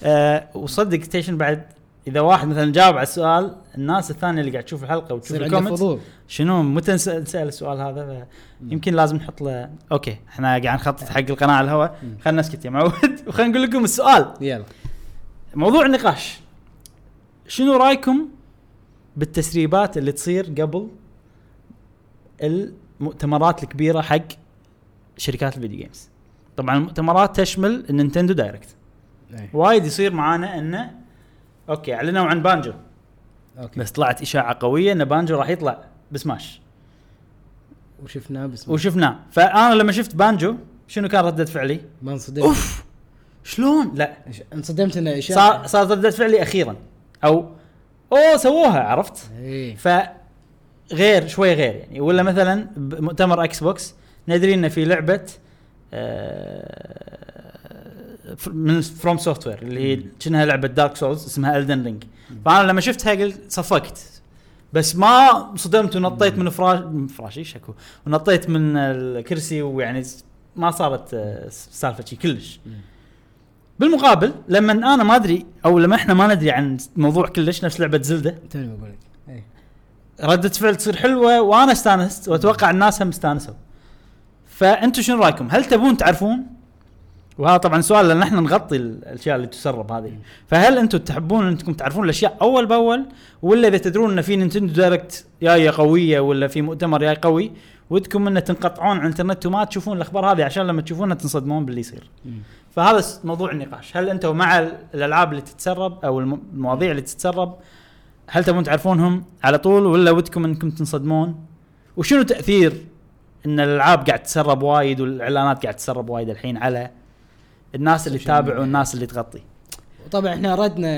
Speaker 1: آه وصدق ستيشن بعد اذا واحد مثلا جاوب على السؤال الناس الثانيه اللي قاعد تشوف الحلقه وتشوف
Speaker 2: يصير عندك
Speaker 1: الكومنت
Speaker 2: فضول
Speaker 1: شنو متى نس- نسال السؤال هذا يمكن لازم نحط له اوكي احنا قاعد نخطط حق القناه على الهواء
Speaker 2: مم.
Speaker 1: خلينا نسكت يا معود [laughs] وخلينا نقول لكم السؤال
Speaker 2: يلا
Speaker 1: موضوع النقاش شنو رايكم بالتسريبات اللي تصير قبل المؤتمرات الكبيره حق شركات الفيديو جيمز طبعا المؤتمرات تشمل النينتندو دايركت
Speaker 2: إيه،
Speaker 1: وايد يصير معانا انه اوكي اعلنوا عن بانجو
Speaker 2: اوكي
Speaker 1: بس طلعت اشاعه قويه ان بانجو راح يطلع بسماش
Speaker 2: وشفناه بس
Speaker 1: وشفناه فانا لما شفت بانجو شنو كان رده فعلي؟
Speaker 2: ما انصدمت
Speaker 1: اوف شلون؟ لا
Speaker 2: إش- انصدمت انه اشاعه
Speaker 1: صار صار رده فعلي اخيرا او اوه سووها عرفت؟
Speaker 2: ايه
Speaker 1: ف غير شوي غير يعني ولا مثلا بمؤتمر اكس بوكس ندري ان في لعبه آه، ف- من فروم سوفت وير اللي هي كأنها لعبه دارك سولز اسمها الدن رينج فانا لما شفتها قلت صفقت بس ما صدمت ونطيت من فراش من فراشي شكو ونطيت من الكرسي ويعني س- ما صارت آه، س- سالفه شي كلش
Speaker 2: مم.
Speaker 1: بالمقابل لما انا ما ادري او لما احنا ما ندري عن موضوع كلش نفس لعبه زلده
Speaker 2: توني بقول لك إيه.
Speaker 1: ردة فعل تصير حلوة وانا استانست واتوقع الناس هم استانسوا. فانتم شنو رايكم؟ هل تبون تعرفون؟ وهذا طبعا سؤال لان احنا نغطي ال- الاشياء اللي تسرب هذه. فهل انتم تحبون انكم تعرفون الاشياء اول باول ولا اذا تدرون ان في نينتندو دايركت جايه قويه ولا في مؤتمر جاي قوي ودكم ان تنقطعون عن الانترنت وما تشوفون الاخبار هذه عشان لما تشوفونها تنصدمون باللي يصير فهذا س- موضوع النقاش هل انتم مع ال- الالعاب اللي تتسرب او الم- المواضيع اللي تتسرب هل تبون تعرفونهم على طول ولا ودكم انكم تنصدمون وشنو تاثير ان الالعاب قاعد تتسرب وايد والاعلانات قاعد تتسرب وايد الحين على الناس اللي
Speaker 2: السوشيال
Speaker 1: تتابع
Speaker 2: ميديا.
Speaker 1: والناس اللي تغطي
Speaker 2: وطبعا احنا ردنا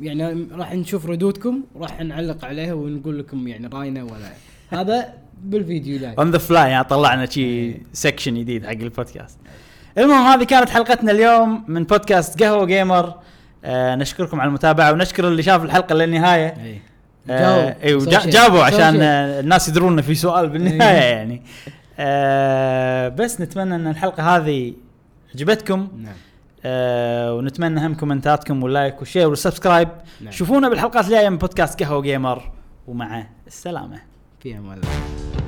Speaker 2: يعني راح نشوف ردودكم راح نعلق عليها ونقول لكم يعني راينا ولا هذا بالفيديو لايف
Speaker 1: اون ذا فلاي يعني طلعنا شي سكشن جديد حق البودكاست المهم هذه كانت حلقتنا اليوم من بودكاست قهوه جيمر آه نشكركم على المتابعه ونشكر اللي شاف الحلقه للنهايه
Speaker 2: إيه.
Speaker 1: آه،
Speaker 2: جاوب.
Speaker 1: ايوه
Speaker 2: سوي
Speaker 1: جا-
Speaker 2: شيء.
Speaker 1: جابوا
Speaker 2: سوي
Speaker 1: عشان
Speaker 2: شيء.
Speaker 1: آه، الناس يدرون إنه في سؤال بالنهايه
Speaker 2: إيه.
Speaker 1: يعني آه بس نتمنى ان الحلقه هذه عجبتكم
Speaker 2: نعم
Speaker 1: آه ونتمنى هم كومنتاتكم واللايك والشير والسبسكرايب
Speaker 2: نعم.
Speaker 1: شوفونا بالحلقات الجايه من بودكاست قهوه جيمر ومع السلامه
Speaker 2: فيها مولع